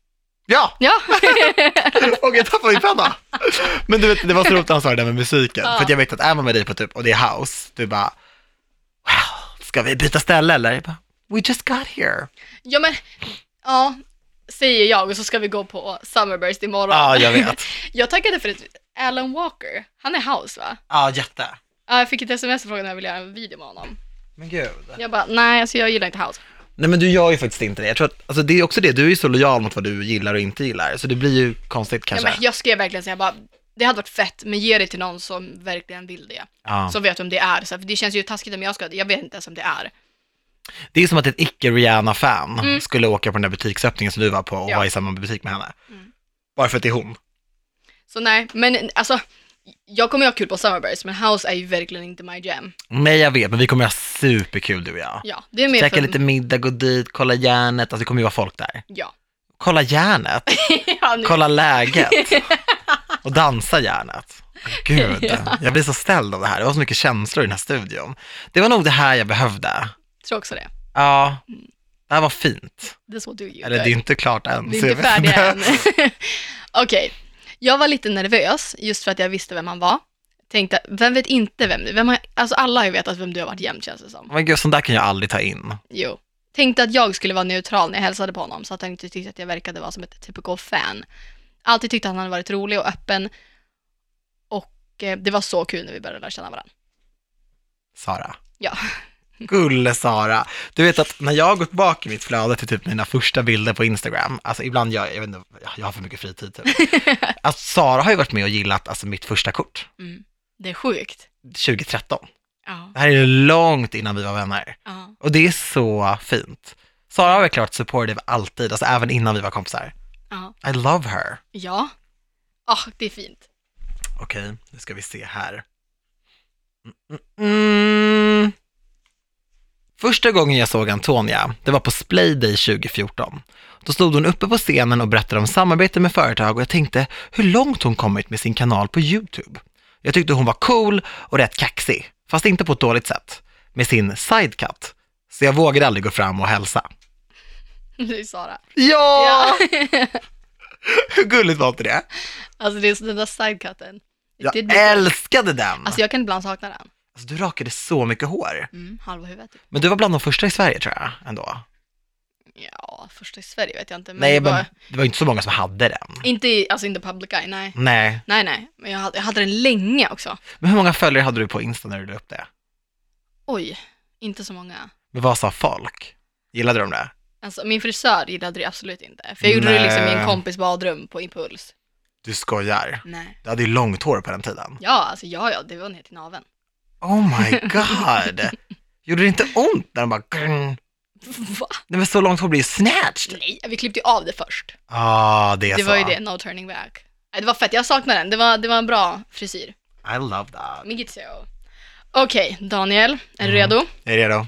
Speaker 1: Ja,
Speaker 2: Ja,
Speaker 1: och jag tappade min penna. Men du vet, det var så roligt när han sa det där med musiken. För att jag vet att är man med dig på typ, och det är house, du bara, wow, ska vi byta ställe eller? Jag bara, We just got here.
Speaker 2: ja men, ja, säger jag och så ska vi gå på Summerburst imorgon.
Speaker 1: Ja, jag vet.
Speaker 2: Jag tackade för ett Alan Walker, han är house va?
Speaker 1: Ja, jätte.
Speaker 2: Ja, jag fick ett sms frågan om jag ville göra en video med honom.
Speaker 1: Men gud.
Speaker 2: Jag bara, nej alltså jag gillar inte house.
Speaker 1: Nej men du gör ju faktiskt inte det. Jag tror att, alltså det är också det, du är ju så lojal mot vad du gillar och inte gillar, så det blir ju konstigt
Speaker 2: Ja,
Speaker 1: kanske.
Speaker 2: men jag skrev verkligen så jag bara, det hade varit fett, men ge det till någon som verkligen vill det.
Speaker 1: Ja.
Speaker 2: Som vet vem det är. Så här, för det känns ju taskigt om jag ska, jag vet inte ens vem det är.
Speaker 1: Det är som att ett icke-Rihanna-fan skulle åka på den där butiksöppningen som du var på och
Speaker 2: Mm. Ja. Mm.
Speaker 1: vara i samma butik med henne. Bara för att det är hon.
Speaker 2: Så nej, men alltså, jag kommer ju ha kul på Summerburst, men House är ju verkligen inte my jam.
Speaker 1: Nej jag vet, men vi kommer ha superkul du och jag.
Speaker 2: Ja, det är mer
Speaker 1: Käka
Speaker 2: för...
Speaker 1: lite middag, gå dit, kolla järnet, alltså det kommer ju vara folk där.
Speaker 2: Ja.
Speaker 1: Kolla järnet,
Speaker 2: ja nu...
Speaker 1: kolla läget och dansa järnet. Gud,
Speaker 2: Ja.
Speaker 1: jag blir så ställd av det här. Det var så mycket känslor i den här studion. Det var nog det här jag behövde.
Speaker 2: Tror också det.
Speaker 1: Ja, det här var fint.
Speaker 2: Det är så du gjorde.
Speaker 1: Eller det är inte klart än.
Speaker 2: Vi
Speaker 1: så
Speaker 2: är inte
Speaker 1: jag vet
Speaker 2: färdiga än. Okej. Jag var lite nervös just för att jag visste vem han var. Tänkte, vem vet inte vem du vem har, Alltså alla har ju vetat vem du har varit jämt känns det som.
Speaker 1: Men gud, sånt där kan jag aldrig ta in.
Speaker 2: Jo. Tänkte att jag skulle vara neutral när jag hälsade på honom så att han inte tyckte att jag verkade vara som ett typical fan. Alltid tyckte han hade varit rolig och öppen. Och eh, det var så kul när vi började lära känna varandra.
Speaker 1: Sara.
Speaker 2: Ja.
Speaker 1: Gulle Sara. Du vet att när jag har gått bak i mitt flöde till typ mina första bilder på Instagram, alltså ibland, jag, jag vet inte, jag har för mycket fritid typ. Alltså Sara har ju varit med och gillat alltså, mitt första kort,
Speaker 2: Mm. Det är sjukt.
Speaker 1: 2013.
Speaker 2: Ja.
Speaker 1: Det här är långt innan vi var vänner.
Speaker 2: ja.
Speaker 1: Och det är så fint. Sara har verkligen varit supportive alltid, alltså även innan vi var kompisar.
Speaker 2: Ja.
Speaker 1: I love her.
Speaker 2: Ja. Ah, det är fint.
Speaker 1: Okej, nu ska vi se här. Mm, mm, mm. Första gången jag såg Antonia, det var på Splay Day 2014. Då stod hon uppe på scenen och berättade om samarbete med företag och jag tänkte hur långt hon kommit med sin kanal på YouTube. Jag tyckte hon var cool och rätt kaxig, fast inte på ett dåligt sätt, med sin sidecut. Så jag vågade aldrig gå fram och hälsa.
Speaker 2: Det är Sara.
Speaker 1: Ja!
Speaker 2: Ja.
Speaker 1: Hur gulligt var inte det?
Speaker 2: Alltså det är så den där sidecutten.
Speaker 1: Jag
Speaker 2: Riktigt mycket.
Speaker 1: älskade den!
Speaker 2: Alltså jag kan ibland sakna den.
Speaker 1: Alltså, du rakade så mycket hår.
Speaker 2: Mm, halva huvudet typ.
Speaker 1: Men du var bland de första i Sverige tror jag ändå.
Speaker 2: Ja, första i Sverige vet jag inte. Men
Speaker 1: Nej,
Speaker 2: det var...
Speaker 1: men det var inte så många som hade den.
Speaker 2: Inte i, alltså inte public eye, nej.
Speaker 1: Nej,
Speaker 2: Nej, nej. Men jag hade, jag hade den länge också.
Speaker 1: men hur många följare hade du på Insta när du la upp det?
Speaker 2: Oj, inte så många.
Speaker 1: Men vad sa folk? Gillade de det?
Speaker 2: Alltså min frisör gillade det absolut inte. För jag gjorde det liksom i
Speaker 1: Nej.
Speaker 2: en kompis badrum på impuls.
Speaker 1: Du skojar.
Speaker 2: Nej.
Speaker 1: Du hade ju långt hår på den tiden.
Speaker 2: Ja, alltså ja, ja, det var ner till naveln.
Speaker 1: Oh my god! Gjorde det inte ont när de bara... grrn?
Speaker 2: Va?
Speaker 1: Nej men så långt hår blir ju snatched!
Speaker 2: Nej, vi klippte ju av det först.
Speaker 1: Ah, det är
Speaker 2: Det
Speaker 1: så.
Speaker 2: var ju det, no turning back. Nej, det var fett, jag saknar den. Det var, det var en bra frisyr.
Speaker 1: I love that.
Speaker 2: Mycket så. Okej, Daniel, är du
Speaker 1: Mm.
Speaker 2: redo?
Speaker 1: Är du redo?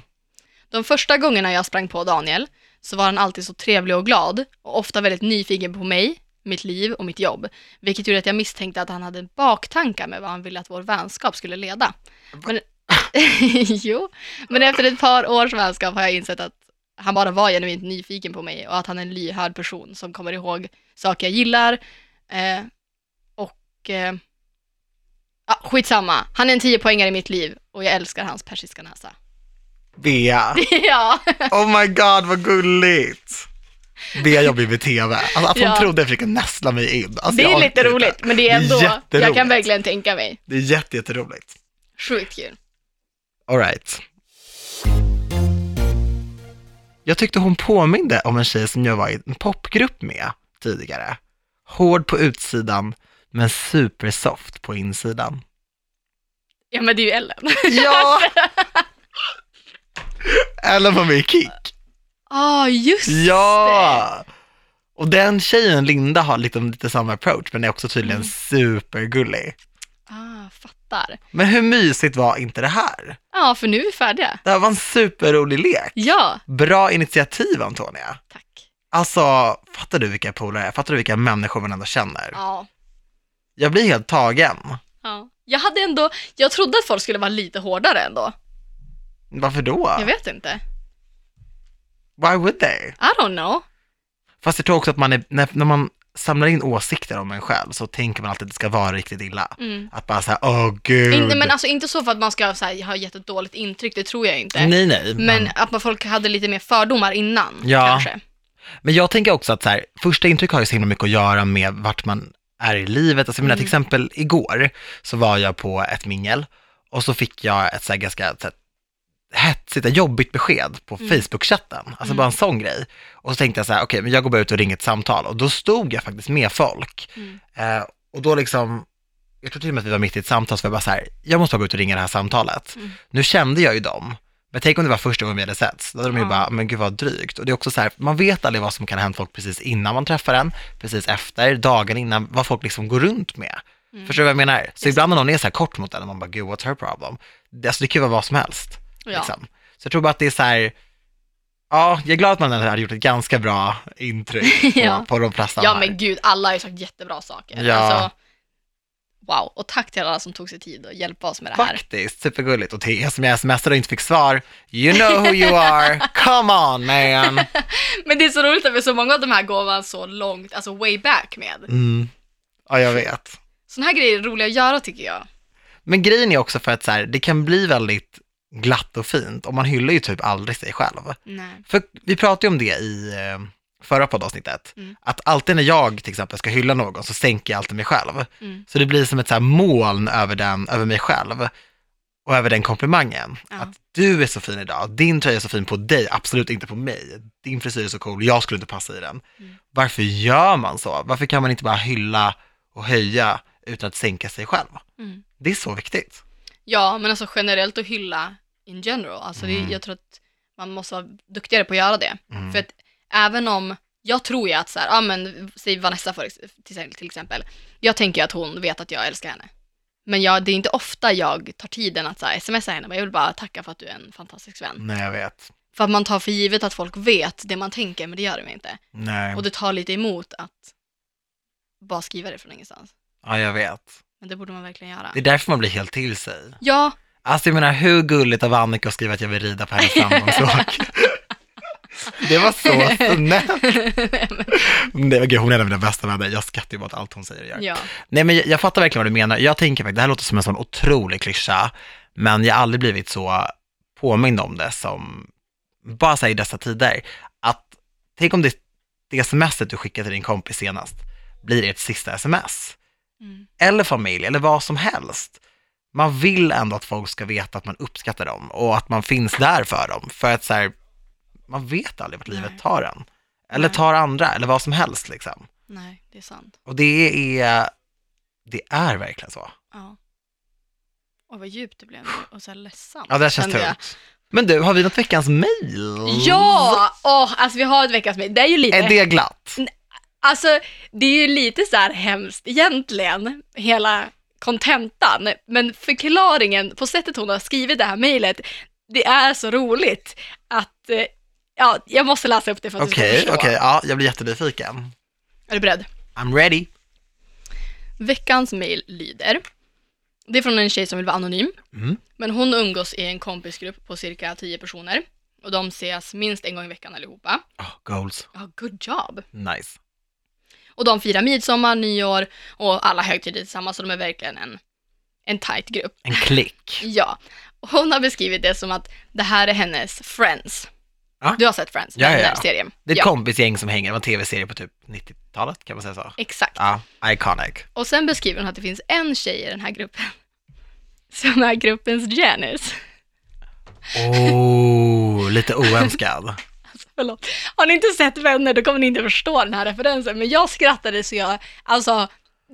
Speaker 2: De första gångerna jag sprang på Daniel så var han alltid så trevlig och glad och ofta väldigt nyfiken på mig, mitt liv och mitt jobb. Vilket gjorde att jag misstänkte att han hade baktankar med vad han ville att vår vänskap skulle leda. Men, jo, men efter ett par års vänskap har jag insett att han bara var genuint nyfiken på mig och att han är en lyhörd person som kommer ihåg saker jag gillar. Eh, och... Eh, ja, skitsamma, han är en 10 poängare i mitt liv och jag älskar hans persiska näsa.
Speaker 1: Bea.
Speaker 2: ja.
Speaker 1: Oh my god, vad gulligt! Bea jobbar ju med TV. Alltså att hon
Speaker 2: Ja.
Speaker 1: trodde jag försöker näsla mig in. Alltså,
Speaker 2: Det
Speaker 1: jag
Speaker 2: är
Speaker 1: orkar
Speaker 2: lite
Speaker 1: inte.
Speaker 2: roligt, men det
Speaker 1: Det
Speaker 2: är
Speaker 1: är
Speaker 2: ändå, jag
Speaker 1: jätteroligt.
Speaker 2: kan verkligen tänka mig.
Speaker 1: Det är jätte, jätteroligt.
Speaker 2: Sjukt kul.
Speaker 1: All right. Jag tyckte hon påminde om en tjej som jag var i en popgrupp med tidigare. Hård på utsidan, men supersoft på insidan.
Speaker 2: Ja men det är ju Ellen.
Speaker 1: Ja! Eller var med i Kick.
Speaker 2: Ah just
Speaker 1: Ja! Och den tjejen, Linda, har liksom lite samma approach, men är också tydligen
Speaker 2: Mm.
Speaker 1: supergullig.
Speaker 2: det. Ah, fattar.
Speaker 1: Men hur mysigt var inte det här?
Speaker 2: Ja, för nu är vi färdiga.
Speaker 1: Det här var en superrolig lek.
Speaker 2: Ja,
Speaker 1: Bra initiativ, Antonia.
Speaker 2: tack.
Speaker 1: Alltså, fattar du vilka polare är? Fattar du vilka människor man ändå känner?
Speaker 2: Ja.
Speaker 1: Jag blir helt tagen.
Speaker 2: ja. Jag hade ändå, jag trodde att folk skulle vara lite hårdare ändå.
Speaker 1: Varför då?
Speaker 2: Jag vet inte.
Speaker 1: Why would they?
Speaker 2: I don't know.
Speaker 1: Fast jag tror också att man är, när, när man samlar in åsikter om en själv så tänker man alltid att det ska vara riktigt illa.
Speaker 2: Mm.
Speaker 1: Att bara såhär, åh gud.
Speaker 2: Inte, men alltså inte så för att man ska så här, ha gett ett dåligt intryck, det tror jag inte.
Speaker 1: nej, nej.
Speaker 2: Men att man folk hade lite mer fördomar innan,
Speaker 1: Ja.
Speaker 2: kanske.
Speaker 1: Men jag tänker också att så här, första intryck har ju så himla mycket att göra med vart man är i livet. Alltså, jag menar, till
Speaker 2: Mm.
Speaker 1: exempel igår så var jag på ett mingel och så fick jag ett så här ganska så här, hetsigt, ett jobbigt besked på
Speaker 2: Mm.
Speaker 1: Facebook-chatten. Alltså
Speaker 2: Mm.
Speaker 1: bara en sån grej. Och så tänkte jag så här, okej, men jag går bara ut och ringer ett samtal. Och då stod jag faktiskt med folk.
Speaker 2: Mm.
Speaker 1: Eh, och då liksom, jag tror till och med att vi var mitt i ett samtal, så var jag bara så här, jag måste bara gå ut och ringa det här samtalet.
Speaker 2: Mm.
Speaker 1: Nu kände jag ju dem, men tänk om det var första gången vi hade setts. Då hade de ju
Speaker 2: Ja.
Speaker 1: bara, men gud vad drygt. Och det är också så här, man vet aldrig vad som kan ha hänt folk precis innan man träffar en, precis efter, dagen innan, vad folk liksom går runt med.
Speaker 2: Mm.
Speaker 1: Förstår du vad jag menar? Så ibland när någon är så här kort mot en, och man bara, gud what's her problem? Det, alltså det kan ju vara vad som helst.
Speaker 2: Ja.
Speaker 1: Liksom. Så jag tror bara att det är så här, ja, jag är glad att man ändå har gjort ett ganska bra intryck på,
Speaker 2: Ja.
Speaker 1: på de flesta
Speaker 2: ja
Speaker 1: här.
Speaker 2: men gud, alla har ju sagt jättebra saker.
Speaker 1: Ja.
Speaker 2: Alltså, wow, och tack till alla som tog sig tid att hjälpa oss med det här.
Speaker 1: Faktiskt, supergulligt. Och till er som jag smsade och inte fick svar, you know who you are, come on man.
Speaker 2: Men det är så roligt att vi så många av de här går man så långt, alltså way back med.
Speaker 1: Mm. Ja, jag vet.
Speaker 2: Sådana här grejer är roliga att göra tycker jag.
Speaker 1: Men grejen är också för att så här, det kan bli väldigt glatt och fint och man hyllar ju typ aldrig sig själv.
Speaker 2: Nej.
Speaker 1: För vi pratade ju om det i eh, förra poddavsnittet,
Speaker 2: Mm.
Speaker 1: att alltid när jag till exempel ska hylla någon så sänker jag alltid mig själv.
Speaker 2: Mm.
Speaker 1: Så det blir som ett så här moln över, den, över mig själv och över den komplimangen.
Speaker 2: Ja.
Speaker 1: Att du är så fin idag, din tröja är så fin på dig, absolut inte på mig. Din frisyr är så cool, jag skulle inte passa i den.
Speaker 2: Mm.
Speaker 1: Varför gör man så? Varför kan man inte bara hylla och höja utan att sänka sig själv?
Speaker 2: Mm.
Speaker 1: Det är så viktigt.
Speaker 2: Ja, men alltså generellt att hylla in general. Alltså det,
Speaker 1: Mm.
Speaker 2: jag tror att man måste vara duktigare på att göra det.
Speaker 1: Mm.
Speaker 2: För att även om, jag tror ju att så här, ja men säg Vanessa för, ex- till, till exempel. Jag tänker ju att hon vet att jag älskar henne. Men jag, det är inte ofta jag tar tiden att så här, smsa henne, bara, jag vill bara tacka för att du är en fantastisk vän.
Speaker 1: Nej, jag vet.
Speaker 2: För att man tar för givet att folk vet det man tänker, men det gör de inte.
Speaker 1: Nej,
Speaker 2: Och det tar lite emot att bara skriva det från ingenstans.
Speaker 1: ja, jag vet.
Speaker 2: Men det borde man verkligen göra.
Speaker 1: Det är därför man blir helt till sig.
Speaker 2: Ja,
Speaker 1: Alltså jag menar hur gulligt av Annika att skriva att jag vill rida på hennes framgångsåk. Det var så snällt. Nej, men gud, hon är en av mina bästa vänner. Jag skrattar ju bara åt allt hon säger och gör.
Speaker 2: ja.
Speaker 1: Nej, men jag, jag fattar verkligen vad du menar. Jag tänker faktiskt, det här låter som en sån otrolig klyscha, men jag har aldrig blivit så påmind om det som, bara så här i dessa tider, att tänk om det, det smset du skickade till din kompis senast blir ett sista sms
Speaker 2: Mm.
Speaker 1: eller familj eller vad som helst. Man vill ändå att folk ska veta att man uppskattar dem och att man finns där för dem. För att så här, man vet aldrig vart livet
Speaker 2: Nej.
Speaker 1: tar en. Eller
Speaker 2: Nej.
Speaker 1: tar andra, eller vad som helst liksom.
Speaker 2: Nej, det är sant.
Speaker 1: Och det är, det är verkligen så.
Speaker 2: Ja. Och vad djupt det blev nu och så här ledsamt.
Speaker 1: Ja, det här känns
Speaker 2: kände jag.
Speaker 1: tungt. Men du, har vi något veckans mail?
Speaker 2: Ja! Åh, alltså vi har ett veckans mejl. Det är ju lite,
Speaker 1: Mm. Är det glatt?
Speaker 2: alltså det är ju lite så här hemskt egentligen, hela kontentan. Men förklaringen, på sättet hon har skrivit det här mejlet, det är så roligt att, eh, ja, jag måste läsa upp det för att du
Speaker 1: Okej,
Speaker 2: ska förstå.
Speaker 1: okej, ja, jag blir jättenyfiken.
Speaker 2: Är du beredd?
Speaker 1: I'm ready.
Speaker 2: Veckans mejl lyder. Det är från en tjej som vill vara anonym.
Speaker 1: Mm.
Speaker 2: Men hon umgås i en kompisgrupp på cirka 10 personer. Och de ses minst en gång i veckan allihopa.
Speaker 1: Oh, goals.
Speaker 2: Ja, good job!
Speaker 1: Nice.
Speaker 2: Och de firar midsommar, nyår och alla högtider tillsammans. Så de är verkligen en, en tight grupp.
Speaker 1: En klick.
Speaker 2: Ja. Och Hon har beskrivit det som att det här är hennes Friends.
Speaker 1: Ja.
Speaker 2: Du har sett Friends?
Speaker 1: Ja, ja,
Speaker 2: den
Speaker 1: ja.
Speaker 2: där serien.
Speaker 1: Det är ett
Speaker 2: ja,
Speaker 1: kompisgäng som hänger, det var en tv-serie på typ 90-talet, kan man säga så?
Speaker 2: Exakt.
Speaker 1: Ja, iconic.
Speaker 2: Och sen beskriver hon att det finns en tjej i den här gruppen. Som är gruppens Janice.
Speaker 1: Oh, lite oönskad.
Speaker 2: Förlåt. Har ni inte sett Vänner då kommer ni inte förstå den här referensen. Men jag skrattade så jag, alltså,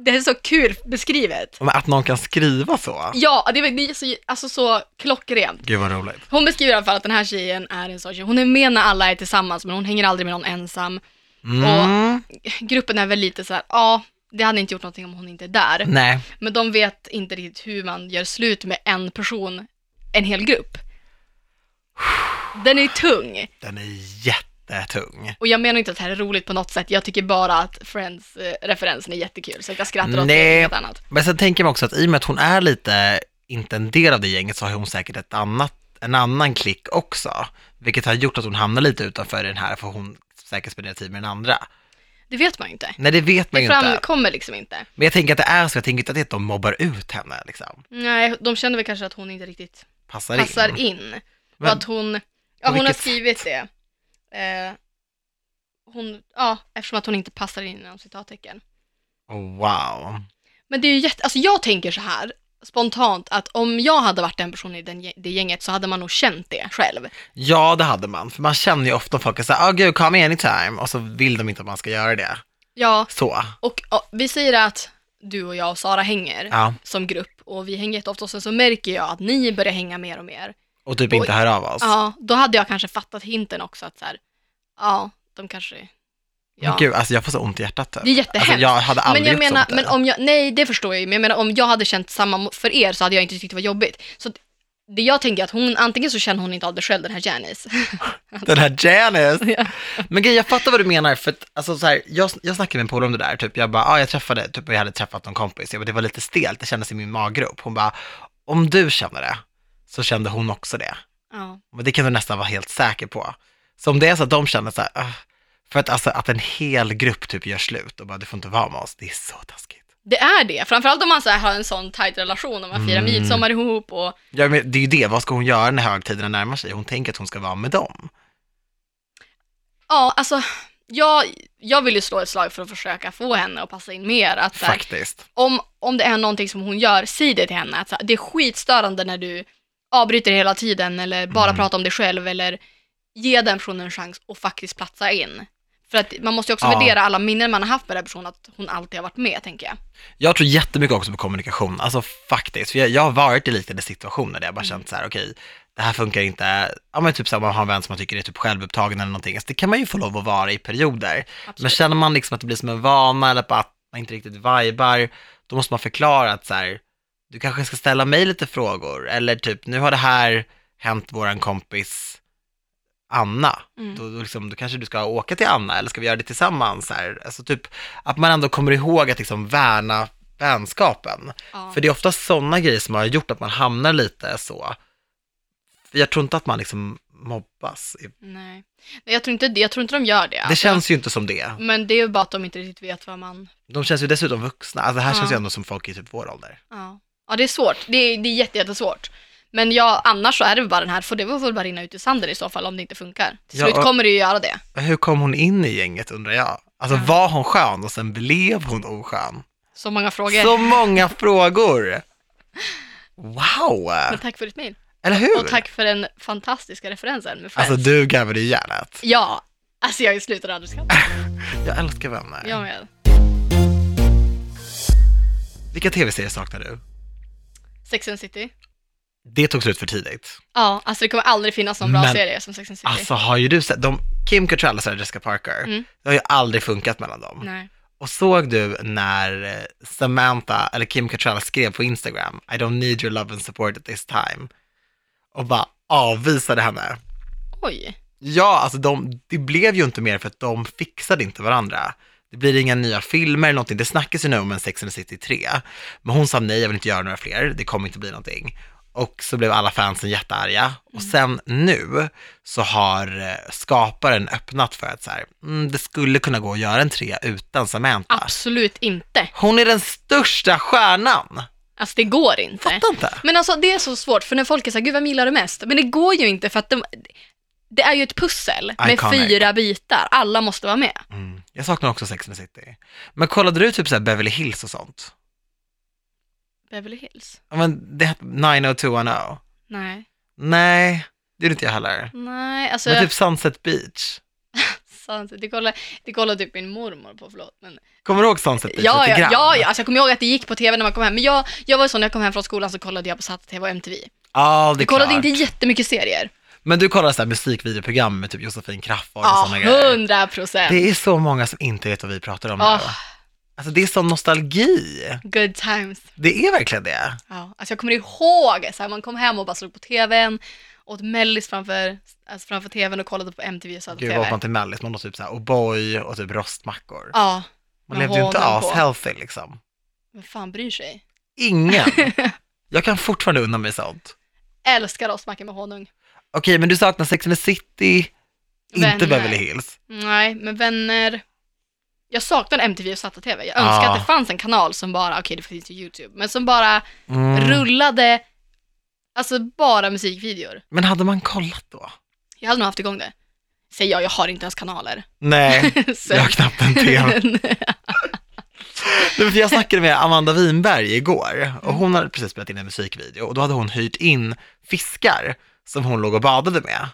Speaker 2: det är så kul beskrivet.
Speaker 1: Men att någon kan skriva så.
Speaker 2: Ja, det var det är så, alltså, så klockrent.
Speaker 1: Gud vad roligt.
Speaker 2: Hon beskriver i alla fall att den här tjejen är en sån tjej. Hon är med när alla är tillsammans men hon hänger aldrig med någon ensam.
Speaker 1: Mm.
Speaker 2: Gruppen är väl lite så här, ja, det hade inte gjort någonting om hon inte är där.
Speaker 1: Nej,
Speaker 2: Men de vet inte riktigt hur man gör slut med en person, en hel grupp. Den är tung.
Speaker 1: den är jättetung.
Speaker 2: Och jag menar inte att det här är roligt på något sätt, jag tycker bara att Friends-referensen är jättekul, så att jag skrattar åt
Speaker 1: Nej.
Speaker 2: det inget annat.
Speaker 1: Men sen tänker man också att i och med att hon är lite, inte en del av det gänget, så har hon säkert ett annat, en annan klick också. Vilket har gjort att hon hamnar lite utanför den här, för hon säkert spenderar tid med den andra.
Speaker 2: Det vet man ju inte.
Speaker 1: Nej, det vet man
Speaker 2: Det
Speaker 1: ju inte.
Speaker 2: framkommer liksom inte.
Speaker 1: Men jag tänker att det är så, jag tänker inte att det är att de mobbar ut henne, liksom.
Speaker 2: Nej, de känner väl kanske att hon inte riktigt
Speaker 1: Passar, in.
Speaker 2: passar in. Och
Speaker 1: Men-
Speaker 2: att hon, ja hon har
Speaker 1: vilket
Speaker 2: skrivit det. Eh, hon, ja, eftersom att hon inte passar in inom citattecken.
Speaker 1: Oh, wow.
Speaker 2: Men det är ju jätte, alltså jag tänker så här spontant att om jag hade varit den personen i den, gä- det gänget så hade man nog känt det själv.
Speaker 1: Ja, det hade man. För man känner ju ofta folk är så här, oh, gud, come anytime. Och så vill de inte att man ska göra det.
Speaker 2: Ja,
Speaker 1: Så.
Speaker 2: och ja, vi säger att du och jag och Sara hänger.
Speaker 1: Ja.
Speaker 2: som grupp och vi hänger jätteofta och sen så märker jag att ni börjar hänga mer och mer.
Speaker 1: Och typ inte
Speaker 2: Oj.
Speaker 1: höra av oss.
Speaker 2: Ja, då hade jag kanske fattat hinten också att så här, ja, de kanske,
Speaker 1: Men
Speaker 2: ja.
Speaker 1: Gud, alltså jag får så ont i hjärtat. Typ.
Speaker 2: Det är jättehemskt.
Speaker 1: Alltså, jag hade aldrig
Speaker 2: Men jag
Speaker 1: gjort så
Speaker 2: menar,
Speaker 1: mot dig.
Speaker 2: men om jag, nej det förstår jag ju, men jag menar om jag hade känt samma mo- för er så hade jag inte tyckt det var jobbigt. Så att det jag tänker är att hon, antingen så känner hon inte av det själv den här Janice.
Speaker 1: Den här Janice.
Speaker 2: Ja.
Speaker 1: Men gud, jag fattar vad du menar. För att, alltså, så här, jag, jag snackade med en polare om det där. Typ, jag bara, ah, jag träffade, typ, och jag hade träffat någon kompis. Jag bara, det var lite stelt, det kändes i min maggrop. Hon bara, om du känner det, så kände hon också det.
Speaker 2: ja.
Speaker 1: Men det kan du nästan vara helt säker på. Så om det är så att de känner så här, "Ah", för att alltså att en hel grupp typ gör slut och bara, du får inte vara med oss, det är så taskigt.
Speaker 2: Det är det, framförallt om man så här har en sån tajt relation, om man firar
Speaker 1: Mm.
Speaker 2: midsommar ihop och
Speaker 1: Ja, men det är ju det, vad ska hon göra när högtiderna närmar sig? Hon tänker att hon ska vara med dem.
Speaker 2: ja, alltså jag, jag vill ju slå ett slag för att försöka få henne att passa in mer. Att så här,
Speaker 1: Faktiskt.
Speaker 2: om, om det är någonting som hon gör, säg det till henne. Att så här, det är skitstörande när du avbryter hela tiden eller bara
Speaker 1: Mm.
Speaker 2: pratar om dig själv eller ge den personen en chans och faktiskt platsa in. För att man måste ju också
Speaker 1: Ja.
Speaker 2: värdera alla minnen man har haft med den här personen, att hon alltid har varit med, tänker jag.
Speaker 1: Jag tror jättemycket också på kommunikation, alltså faktiskt. För jag, jag har varit i liknande situationer där jag bara känt så här, okej, det här funkar inte. Ja men typ så här, man har en vän som man tycker är typ självupptagen eller någonting. Alltså, det kan man ju få lov att vara i perioder.
Speaker 2: Absolut.
Speaker 1: Men känner man liksom att det blir som en vana eller på att man inte riktigt vibar, då måste man förklara att så här, du kanske ska ställa mig lite frågor. Eller typ, nu har det här hänt våran kompis Anna.
Speaker 2: Mm.
Speaker 1: Då, då, liksom, då kanske du ska åka till Anna eller ska vi göra det tillsammans? Så här? Alltså typ, att man ändå kommer ihåg att liksom värna vänskapen.
Speaker 2: Ja.
Speaker 1: För det är ofta sådana grejer som har gjort att man hamnar lite så. För jag tror inte att man liksom mobbas.
Speaker 2: Nej. Nej, jag tror inte det. Jag tror inte de gör det.
Speaker 1: Det känns ju inte som det.
Speaker 2: Men det är ju bara att de inte riktigt vet vad man...
Speaker 1: De känns ju dessutom vuxna. Alltså det här
Speaker 2: Ja.
Speaker 1: känns ju ändå som folk i typ vår ålder.
Speaker 2: Ja, ja det är svårt. Det är, det är jätte, jättesvårt. Men ja, annars så är det väl bara den här, för det får väl bara rinna ut i sanden i så fall om det inte funkar. Till
Speaker 1: Ja,
Speaker 2: slut
Speaker 1: och-
Speaker 2: kommer det ju göra det.
Speaker 1: Hur kom hon in i gänget undrar jag? Alltså
Speaker 2: Ja.
Speaker 1: var hon skön och sen blev hon oskön?
Speaker 2: Så många frågor.
Speaker 1: Så många frågor! Wow!
Speaker 2: Men tack för ditt mejl.
Speaker 1: Eller hur?
Speaker 2: Och tack för den fantastiska referensen med Friends.
Speaker 1: Alltså du garvade i hjärnet.
Speaker 2: Ja, alltså jag slutar aldrig skratta.
Speaker 1: Jag älskar vänner.
Speaker 2: Jag med.
Speaker 1: Vilka tv-serier saknar du?
Speaker 2: Sex and the City.
Speaker 1: Det tog slut för tidigt.
Speaker 2: Ja, alltså det kommer aldrig finnas någon bra
Speaker 1: Men-
Speaker 2: serie som Sex and the City.
Speaker 1: Alltså har ju du sett, de, Kim Cattrall och Sarah Jessica Parker,
Speaker 2: Mm.
Speaker 1: det har ju aldrig funkat mellan dem.
Speaker 2: Nej.
Speaker 1: Och såg du när eh, Samantha, eller Kim Cattrall skrev på Instagram, I don't need your love and support at this time. Och bara avvisade henne.
Speaker 2: Oj.
Speaker 1: Ja, alltså de, det blev ju inte mer för att de fixade inte varandra. Det blir inga nya filmer eller någonting. Det snackas ju nu om en Sex and the City 3. Men hon sa nej, jag vill inte göra några fler. Det kommer inte bli någonting. Och så blev alla fansen jättearga. Och sen nu så har eh, skaparen öppnat för att så här, mm, det skulle kunna gå att göra en trea utan Samantha.
Speaker 2: Absolut inte.
Speaker 1: Hon är den största stjärnan.
Speaker 2: Alltså det går inte.
Speaker 1: Fattar inte.
Speaker 2: Men alltså det är så svårt, för när folk är såhär, gud vem gillar du mest? Men det går ju inte för att de, det är ju ett pussel med
Speaker 1: Iconic.
Speaker 2: fyra bitar, alla måste vara med.
Speaker 1: Mm. Jag saknar också Sex and the City. Men kollade du typ så här Beverly Hills och sånt?
Speaker 2: Beverly Hills?
Speaker 1: Ja, men det oh hette 90210.
Speaker 2: Nej.
Speaker 1: Nej, det gjorde inte jag heller.
Speaker 2: Nej, alltså
Speaker 1: Men typ Sunset Beach.
Speaker 2: sant, det, kollade, det kollade typ min mormor på, förlåt. Men,
Speaker 1: Kommer du ihåg Sunset Beach
Speaker 2: ja, ja,
Speaker 1: typ lite grann?
Speaker 2: ja, ja, alltså jag kommer ihåg att det gick på tv när man kom hem, men jag, jag var ju sån när jag kom hem från skolan så kollade jag på Satt-TV och MTV.
Speaker 1: Ja, det är
Speaker 2: Jag kollade
Speaker 1: klart.
Speaker 2: inte jättemycket serier.
Speaker 1: Men du kollar så här musikvideoprogram med typ Josefin Crafoord och
Speaker 2: Ja,
Speaker 1: sådana grejer.
Speaker 2: hundra procent.
Speaker 1: Det är så många som inte vet vad vi pratar om
Speaker 2: Ah.
Speaker 1: nu. Alltså det är sån nostalgi.
Speaker 2: Good times.
Speaker 1: Det är verkligen det.
Speaker 2: Ja, alltså jag kommer ihåg så här, man kom hem och bara slog på tvn, åt mellis framför, alltså framför tvn och kollade på MTV och satt på
Speaker 1: Gud, vad åt
Speaker 2: tv.
Speaker 1: man till mellis? Man åt typ så här O'boy och typ rostmackor.
Speaker 2: Ja,
Speaker 1: Man
Speaker 2: med
Speaker 1: levde ju inte
Speaker 2: honung på.
Speaker 1: as-healthy liksom.
Speaker 2: men fan bryr sig?
Speaker 1: Ingen. jag kan fortfarande unna mig sånt.
Speaker 2: Älskar rostmackor med honung.
Speaker 1: Okej, men du saknar Sex and the City, inte
Speaker 2: Vänner.
Speaker 1: Beverly Hills.
Speaker 2: Nej, men vänner. Jag saknar MTV och satt tv. Jag önskar
Speaker 1: Ja.
Speaker 2: att det fanns en kanal som bara, okej det finns ju YouTube, men som bara
Speaker 1: Mm.
Speaker 2: rullade, alltså bara musikvideor.
Speaker 1: Men hade man kollat då?
Speaker 2: Jag hade nog haft igång det. Säger jag, jag har inte ens kanaler.
Speaker 1: Nej,
Speaker 2: Så-
Speaker 1: jag har knappt en tv. Nej, för jag snackade med Amanda Winberg igår och hon hade precis spelat in en musikvideo och då hade hon hyrt in fiskar som hon låg och badade med.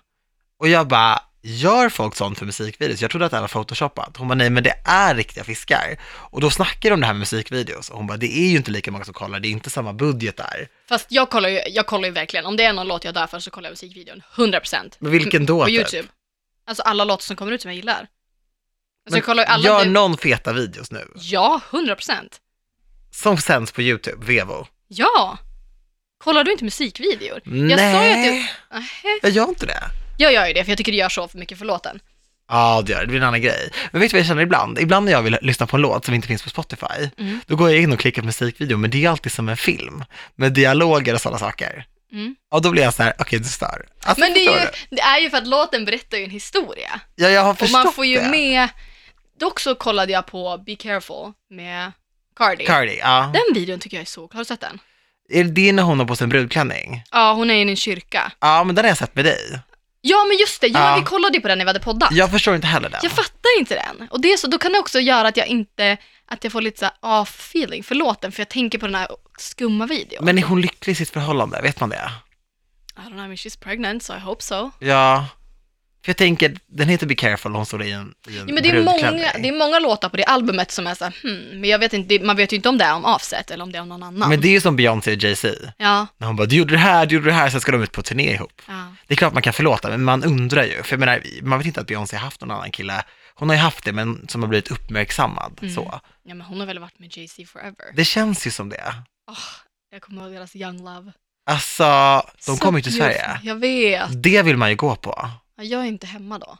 Speaker 1: Och jag bara, gör folk sånt för musikvideos? Jag trodde att det här var photoshopat. Hon bara, nej men det är riktiga fiskar. Och då snackade de om det här med musikvideos och hon bara, det är ju inte lika många som kollar, det är inte samma budget där.
Speaker 2: Fast jag kollar, ju, jag kollar ju verkligen, om det är någon låt jag dör för så kollar jag musikvideon, 100%.
Speaker 1: Men vilken då?
Speaker 2: Mm, På
Speaker 1: typ?
Speaker 2: YouTube. Alltså alla låtar som kommer ut som jag gillar. Alltså
Speaker 1: Men
Speaker 2: jag kollar ju alla...
Speaker 1: gör
Speaker 2: du-
Speaker 1: någon feta videos nu,
Speaker 2: Ja, 100%.
Speaker 1: som sänds på YouTube, Vevo.
Speaker 2: Ja! Kollar du inte musikvideor? Jag sa ju att
Speaker 1: nej,
Speaker 2: du... Nähä.
Speaker 1: jag gör inte det.
Speaker 2: Jag gör ju det, för jag tycker det gör så för mycket för låten.
Speaker 1: Ja, det gör det. Det blir en annan grej. Men vet du vad jag känner ibland? Ibland när jag vill lyssna på en låt som inte finns på Spotify,
Speaker 2: Mm.
Speaker 1: då går jag in och klickar på musikvideo, men det är alltid som en film, med dialoger och sådana saker.
Speaker 2: Mm.
Speaker 1: Och då blir jag så här, okej, du stör. Alltså,
Speaker 2: Men det är, ju,
Speaker 1: förstår
Speaker 2: det är ju för att låten berättar ju en historia.
Speaker 1: du? Ja, jag har
Speaker 2: Och
Speaker 1: förstått
Speaker 2: man får ju
Speaker 1: det.
Speaker 2: med... Dock så kollade jag på Be Careful med Cardi.
Speaker 1: Cardi, ja.
Speaker 2: Den videon tycker jag är så cool. Har du sett den?
Speaker 1: Är det när hon har på sig en brudklänning?
Speaker 2: Ja, hon är i en kyrka.
Speaker 1: Ja, men den har jag sett med dig.
Speaker 2: Ja, men just det. Ja,
Speaker 1: Ja.
Speaker 2: vi kollade ju på den när vi hade poddat.
Speaker 1: Jag förstår inte heller den.
Speaker 2: Jag fattar inte den. Och det är så, då kan det också göra att jag inte, att jag får lite så här off-feeling för låten, för jag tänker på den här skumma videon.
Speaker 1: Men är hon lycklig i sitt förhållande? Vet man det?
Speaker 2: I don't know, I mean she's pregnant so I hope so.
Speaker 1: Ja. För jag tänker, den heter Be careful, hon står i en, i en
Speaker 2: Ja, men det, är många, det
Speaker 1: brudklänning.
Speaker 2: är många låtar på det albumet som är så här, hmm, men jag vet inte, det, man vet ju inte om det är om Offset eller om det är om någon annan.
Speaker 1: Men det är ju som Beyoncé och Jay-Z.
Speaker 2: Ja,
Speaker 1: När hon bara, du gjorde det här, du gjorde det här, sen ska de ut på turné ihop.
Speaker 2: ja.
Speaker 1: Det är klart man kan förlåta, men man undrar ju. För jag menar, man vet inte att Beyoncé har haft någon annan kille. Hon har ju haft det, men som har blivit uppmärksammad.
Speaker 2: Mm.
Speaker 1: Så.
Speaker 2: ja, men hon har väl varit med Jay-Z forever.
Speaker 1: Det känns ju som det.
Speaker 2: Åh, Ah, jag kommer ihåg deras Young Love.
Speaker 1: Alltså, de
Speaker 2: So
Speaker 1: kommer ju till
Speaker 2: beautiful.
Speaker 1: Sverige.
Speaker 2: Jag vet.
Speaker 1: Det vill man ju gå på.
Speaker 2: Ja, Jag är inte hemma då.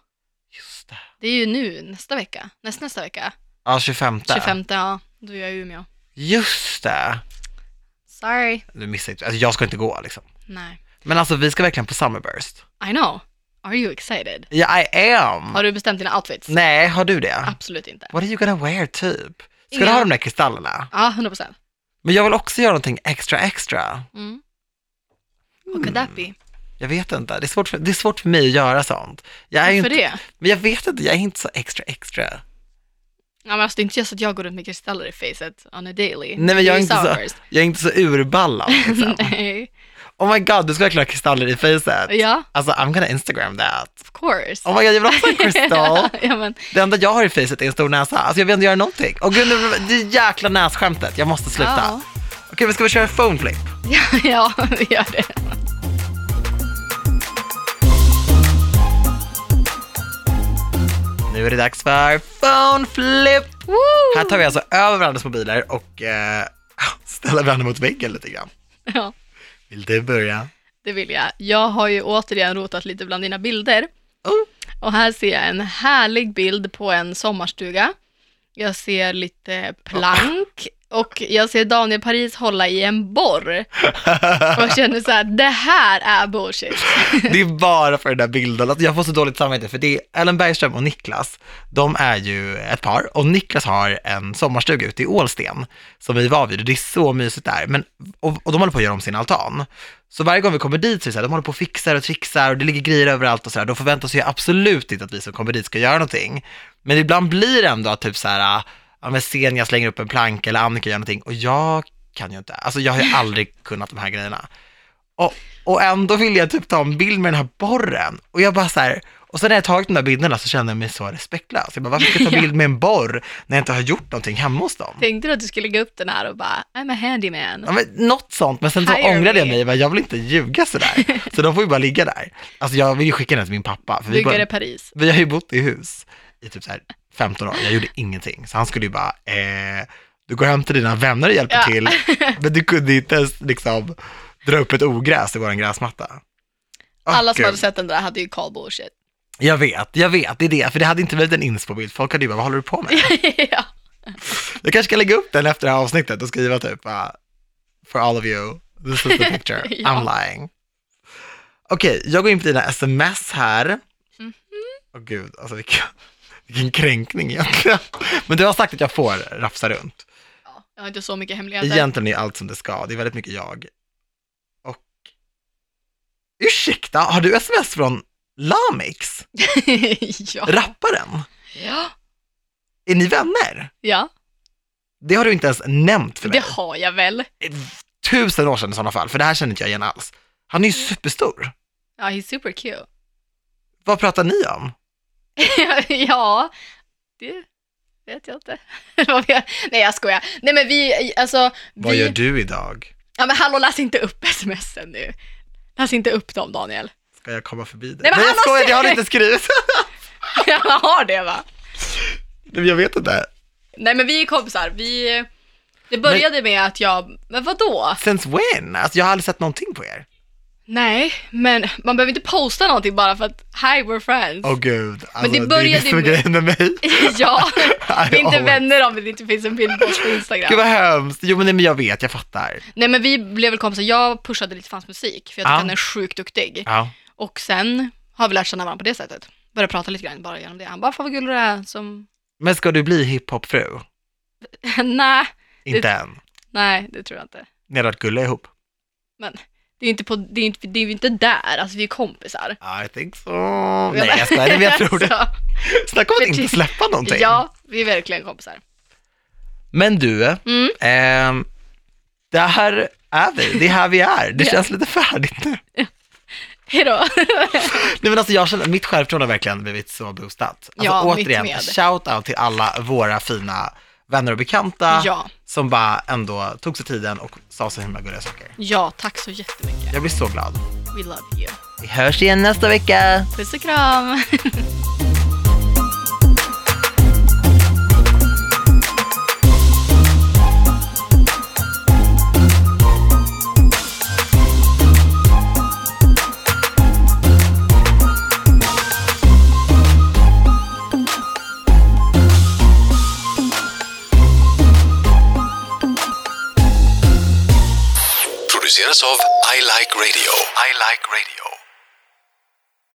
Speaker 1: Just det.
Speaker 2: Det är ju nu, nästa vecka. Näst, nästa vecka.
Speaker 1: Ja, 25.
Speaker 2: 25, ja. Då är jag i Umeå.
Speaker 1: Just det.
Speaker 2: Sorry.
Speaker 1: Du missar inte, alltså jag ska inte gå liksom.
Speaker 2: Nej.
Speaker 1: Men alltså vi ska verkligen på Summerburst.
Speaker 2: I know. Are you excited?
Speaker 1: Ja, I am.
Speaker 2: Har du Ah. bestämt dina outfits?
Speaker 1: Mm. Nej, har du det?
Speaker 2: Absolut inte.
Speaker 1: What are you gonna wear typ? Ska
Speaker 2: Ingen
Speaker 1: du ha
Speaker 2: aning.
Speaker 1: de där kristallerna?
Speaker 2: Ja, 100 procent.
Speaker 1: Men jag vill också göra någonting extra extra.
Speaker 2: Mm.
Speaker 1: Mm.
Speaker 2: What could that be?
Speaker 1: Jag vet inte, det är svårt för, det är svårt för mig att göra sånt. Jag är ju
Speaker 2: Varför
Speaker 1: inte,
Speaker 2: det?
Speaker 1: Men jag vet inte, jag är inte så extra extra.
Speaker 2: Ja, men alltså, det är inte just att jag går runt med kristaller i facet on a daily.
Speaker 1: Nej, men jag är
Speaker 2: Det
Speaker 1: inte så-
Speaker 2: Starburst.
Speaker 1: Jag är inte så urballad liksom.
Speaker 2: Nej.
Speaker 1: oh my god, du ska verkligen ha kristaller i facet.
Speaker 2: Ja,
Speaker 1: Alltså I'm gonna instagram that.
Speaker 2: of course.
Speaker 1: Oh my god, jag vill också ha en kristall.
Speaker 2: ja, men,
Speaker 1: Det enda jag har i facet är en stor näsa. Alltså jag vill inte göra någonting. Åh gud, nu- det jäkla nässkämtet. Jag måste sluta.
Speaker 2: Ja.
Speaker 1: Okej, men ska vi köra phone flip?
Speaker 2: ja, ja, vi gör det.
Speaker 1: Nu är det dags för phone flip!
Speaker 2: Woo!
Speaker 1: Här tar vi alltså över varandras mobiler och eh, ställer varandra mot väggen lite grann.
Speaker 2: Ja,
Speaker 1: Vill du börja?
Speaker 2: det vill jag. Jag har ju återigen rotat lite bland dina bilder.
Speaker 1: Oh.
Speaker 2: Och här ser jag en härlig bild på en sommarstuga. Jag ser lite plank och jag ser Daniel Paris hålla i en borr. Och jag känner så här, det här är bullshit.
Speaker 1: Det är bara för den där bilden. Alltså, jag får så dåligt samvete för det är Ellen Bergström och Niklas. De är ju ett par och Niklas har en sommarstuga ute i Ålsten som vi var vid och det är så mysigt där. Men, och, och de håller på att göra om sin altan. Så varje gång vi kommer dit så är det så här, de håller på och fixar och trixar och det ligger grejer överallt och så här. De förväntar sig ju absolut inte att vi som kommer dit ska göra någonting. Men ibland blir det ändå att typ så här, ja men Senja slänger upp en planka eller Annika gör någonting och jag kan ju inte, alltså jag har ju aldrig kunnat de här grejerna. Och, och ändå vill jag typ ta en bild med den här borren. Och jag bara så här, och sen när jag tagit de där bilderna så kände jag mig så respektlös. Jag bara, varför ska jag ta bild med en borr när jag inte har gjort någonting hemma hos dem?
Speaker 2: Tänkte du att du skulle lägga upp den här och bara, I'm a handyman.
Speaker 1: Ja, men något sånt, men sen så
Speaker 2: Hire
Speaker 1: ångrade jag
Speaker 2: me.
Speaker 1: mig, jag bara, jag vill inte ljuga sådär. Så de får ju bara ligga där. Alltså jag vill ju skicka den till min pappa, för vi, bara,
Speaker 2: Byggare Paris.
Speaker 1: vi har ju bott i hus i typ så här 15 år, jag gjorde ingenting. Så han skulle ju bara, eh, du går hem till dina vänner och hjälper
Speaker 2: Ja.
Speaker 1: till, men du kunde inte ens liksom dra upp ett ogräs i våran gräsmatta. Åh,
Speaker 2: Alla som
Speaker 1: gud.
Speaker 2: hade sett den där hade ju call bullshit.
Speaker 1: Jag vet, jag vet, det är det. För det hade inte blivit en inspobild. Folk hade ju bara, vad håller du på med?
Speaker 2: ja.
Speaker 1: Jag kanske ska lägga upp den efter det här avsnittet och skriva typ, uh, for all of you, this is the picture,
Speaker 2: Ja.
Speaker 1: I'm lying. Okej, jag går in på dina sms här. Åh
Speaker 2: Mhm.
Speaker 1: gud, alltså vilken, vilken kränkning egentligen. Men du har sagt att jag får rafsa runt.
Speaker 2: Ja, Jag har inte så mycket hemligheter.
Speaker 1: Egentligen är allt som det ska, det är väldigt mycket jag. Och, ursäkta, har du sms från Lamix?
Speaker 2: ja.
Speaker 1: Rapparen?
Speaker 2: ja.
Speaker 1: Är ni vänner?
Speaker 2: Ja,
Speaker 1: Det har du inte ens nämnt för mig.
Speaker 2: det har jag väl.
Speaker 1: Tusen år sedan i sådana fall, för det här känner inte jag igen alls. Han är ju superstor.
Speaker 2: Ja, he's super cute.
Speaker 1: Vad pratar ni om?
Speaker 2: ja, det vet jag inte. Vad vet- Nej, jag skojar. Nej, men vi, alltså,
Speaker 1: Vad
Speaker 2: vi...
Speaker 1: gör du idag?
Speaker 2: Ja, men hallå, läs inte upp smsen nu. Läs inte upp dem, Daniel.
Speaker 1: Ska jag komma förbi dig?
Speaker 2: Nej, men
Speaker 1: jag
Speaker 2: han har
Speaker 1: skojar, det har du
Speaker 2: sett-
Speaker 1: inte skrivit.
Speaker 2: Jag har det, va?
Speaker 1: Nej, men jag vet inte.
Speaker 2: Nej, men vi är kompisar. Vi... Det började med att jag, men vadå?
Speaker 1: Since when? Alltså, jag har aldrig sett någonting på er.
Speaker 2: Nej, men man behöver inte posta någonting bara för att, hi, we're friends.
Speaker 1: Åh gud, alltså,
Speaker 2: det
Speaker 1: det, är
Speaker 2: började
Speaker 1: det som är
Speaker 2: ju med-
Speaker 1: grejen med mig.
Speaker 2: ja, vi är inte
Speaker 1: always-
Speaker 2: vänner om det inte finns en bild på oss på Instagram.
Speaker 1: Gud vad hemskt. Jo men, nej, men jag vet, jag fattar.
Speaker 2: Nej men vi blev väl kompisar, jag pushade lite för hans musik för jag tycker
Speaker 1: Ja.
Speaker 2: han är sjukt duktig.
Speaker 1: Ja.
Speaker 2: Och sen har vi lärt känna varandra på det sättet. Började prata lite grann bara genom det. Han bara, fan vad gullig du är som...
Speaker 1: Men ska du bli hiphopfru?
Speaker 2: Nej,
Speaker 1: Inte än.
Speaker 2: Nej, det tror jag inte.
Speaker 1: Ni hade varit gulliga ihop.
Speaker 2: Det är ju inte, på, det är inte, det är ju inte där, alltså vi är kompisar.
Speaker 1: I think so. Nej, jag skojar. Men jag tror det.
Speaker 2: Alltså,
Speaker 1: Snacka om att
Speaker 2: Förty-
Speaker 1: inte släppa någonting.
Speaker 2: Ja, vi är verkligen kompisar.
Speaker 1: Men du,
Speaker 2: Mm.
Speaker 1: ehm, där är vi. Det är här vi är. Det
Speaker 2: Ja.
Speaker 1: känns lite färdigt nu.
Speaker 2: Hejdå.
Speaker 1: Nej men alltså jag känner, mitt självförtroende har verkligen blivit så boostat. Alltså
Speaker 2: Ja, mitt
Speaker 1: återigen,
Speaker 2: med.
Speaker 1: shout-out till alla våra fina vänner och bekanta
Speaker 2: Ja,
Speaker 1: som bara ändå tog sig tiden och sa så himla gulliga saker.
Speaker 2: ja, tack så jättemycket.
Speaker 1: Jag blir så glad.
Speaker 2: We love you.
Speaker 1: Vi hörs igen nästa vecka.
Speaker 2: Puss och kram.
Speaker 3: produceras av I Like Radio. I Like Radio.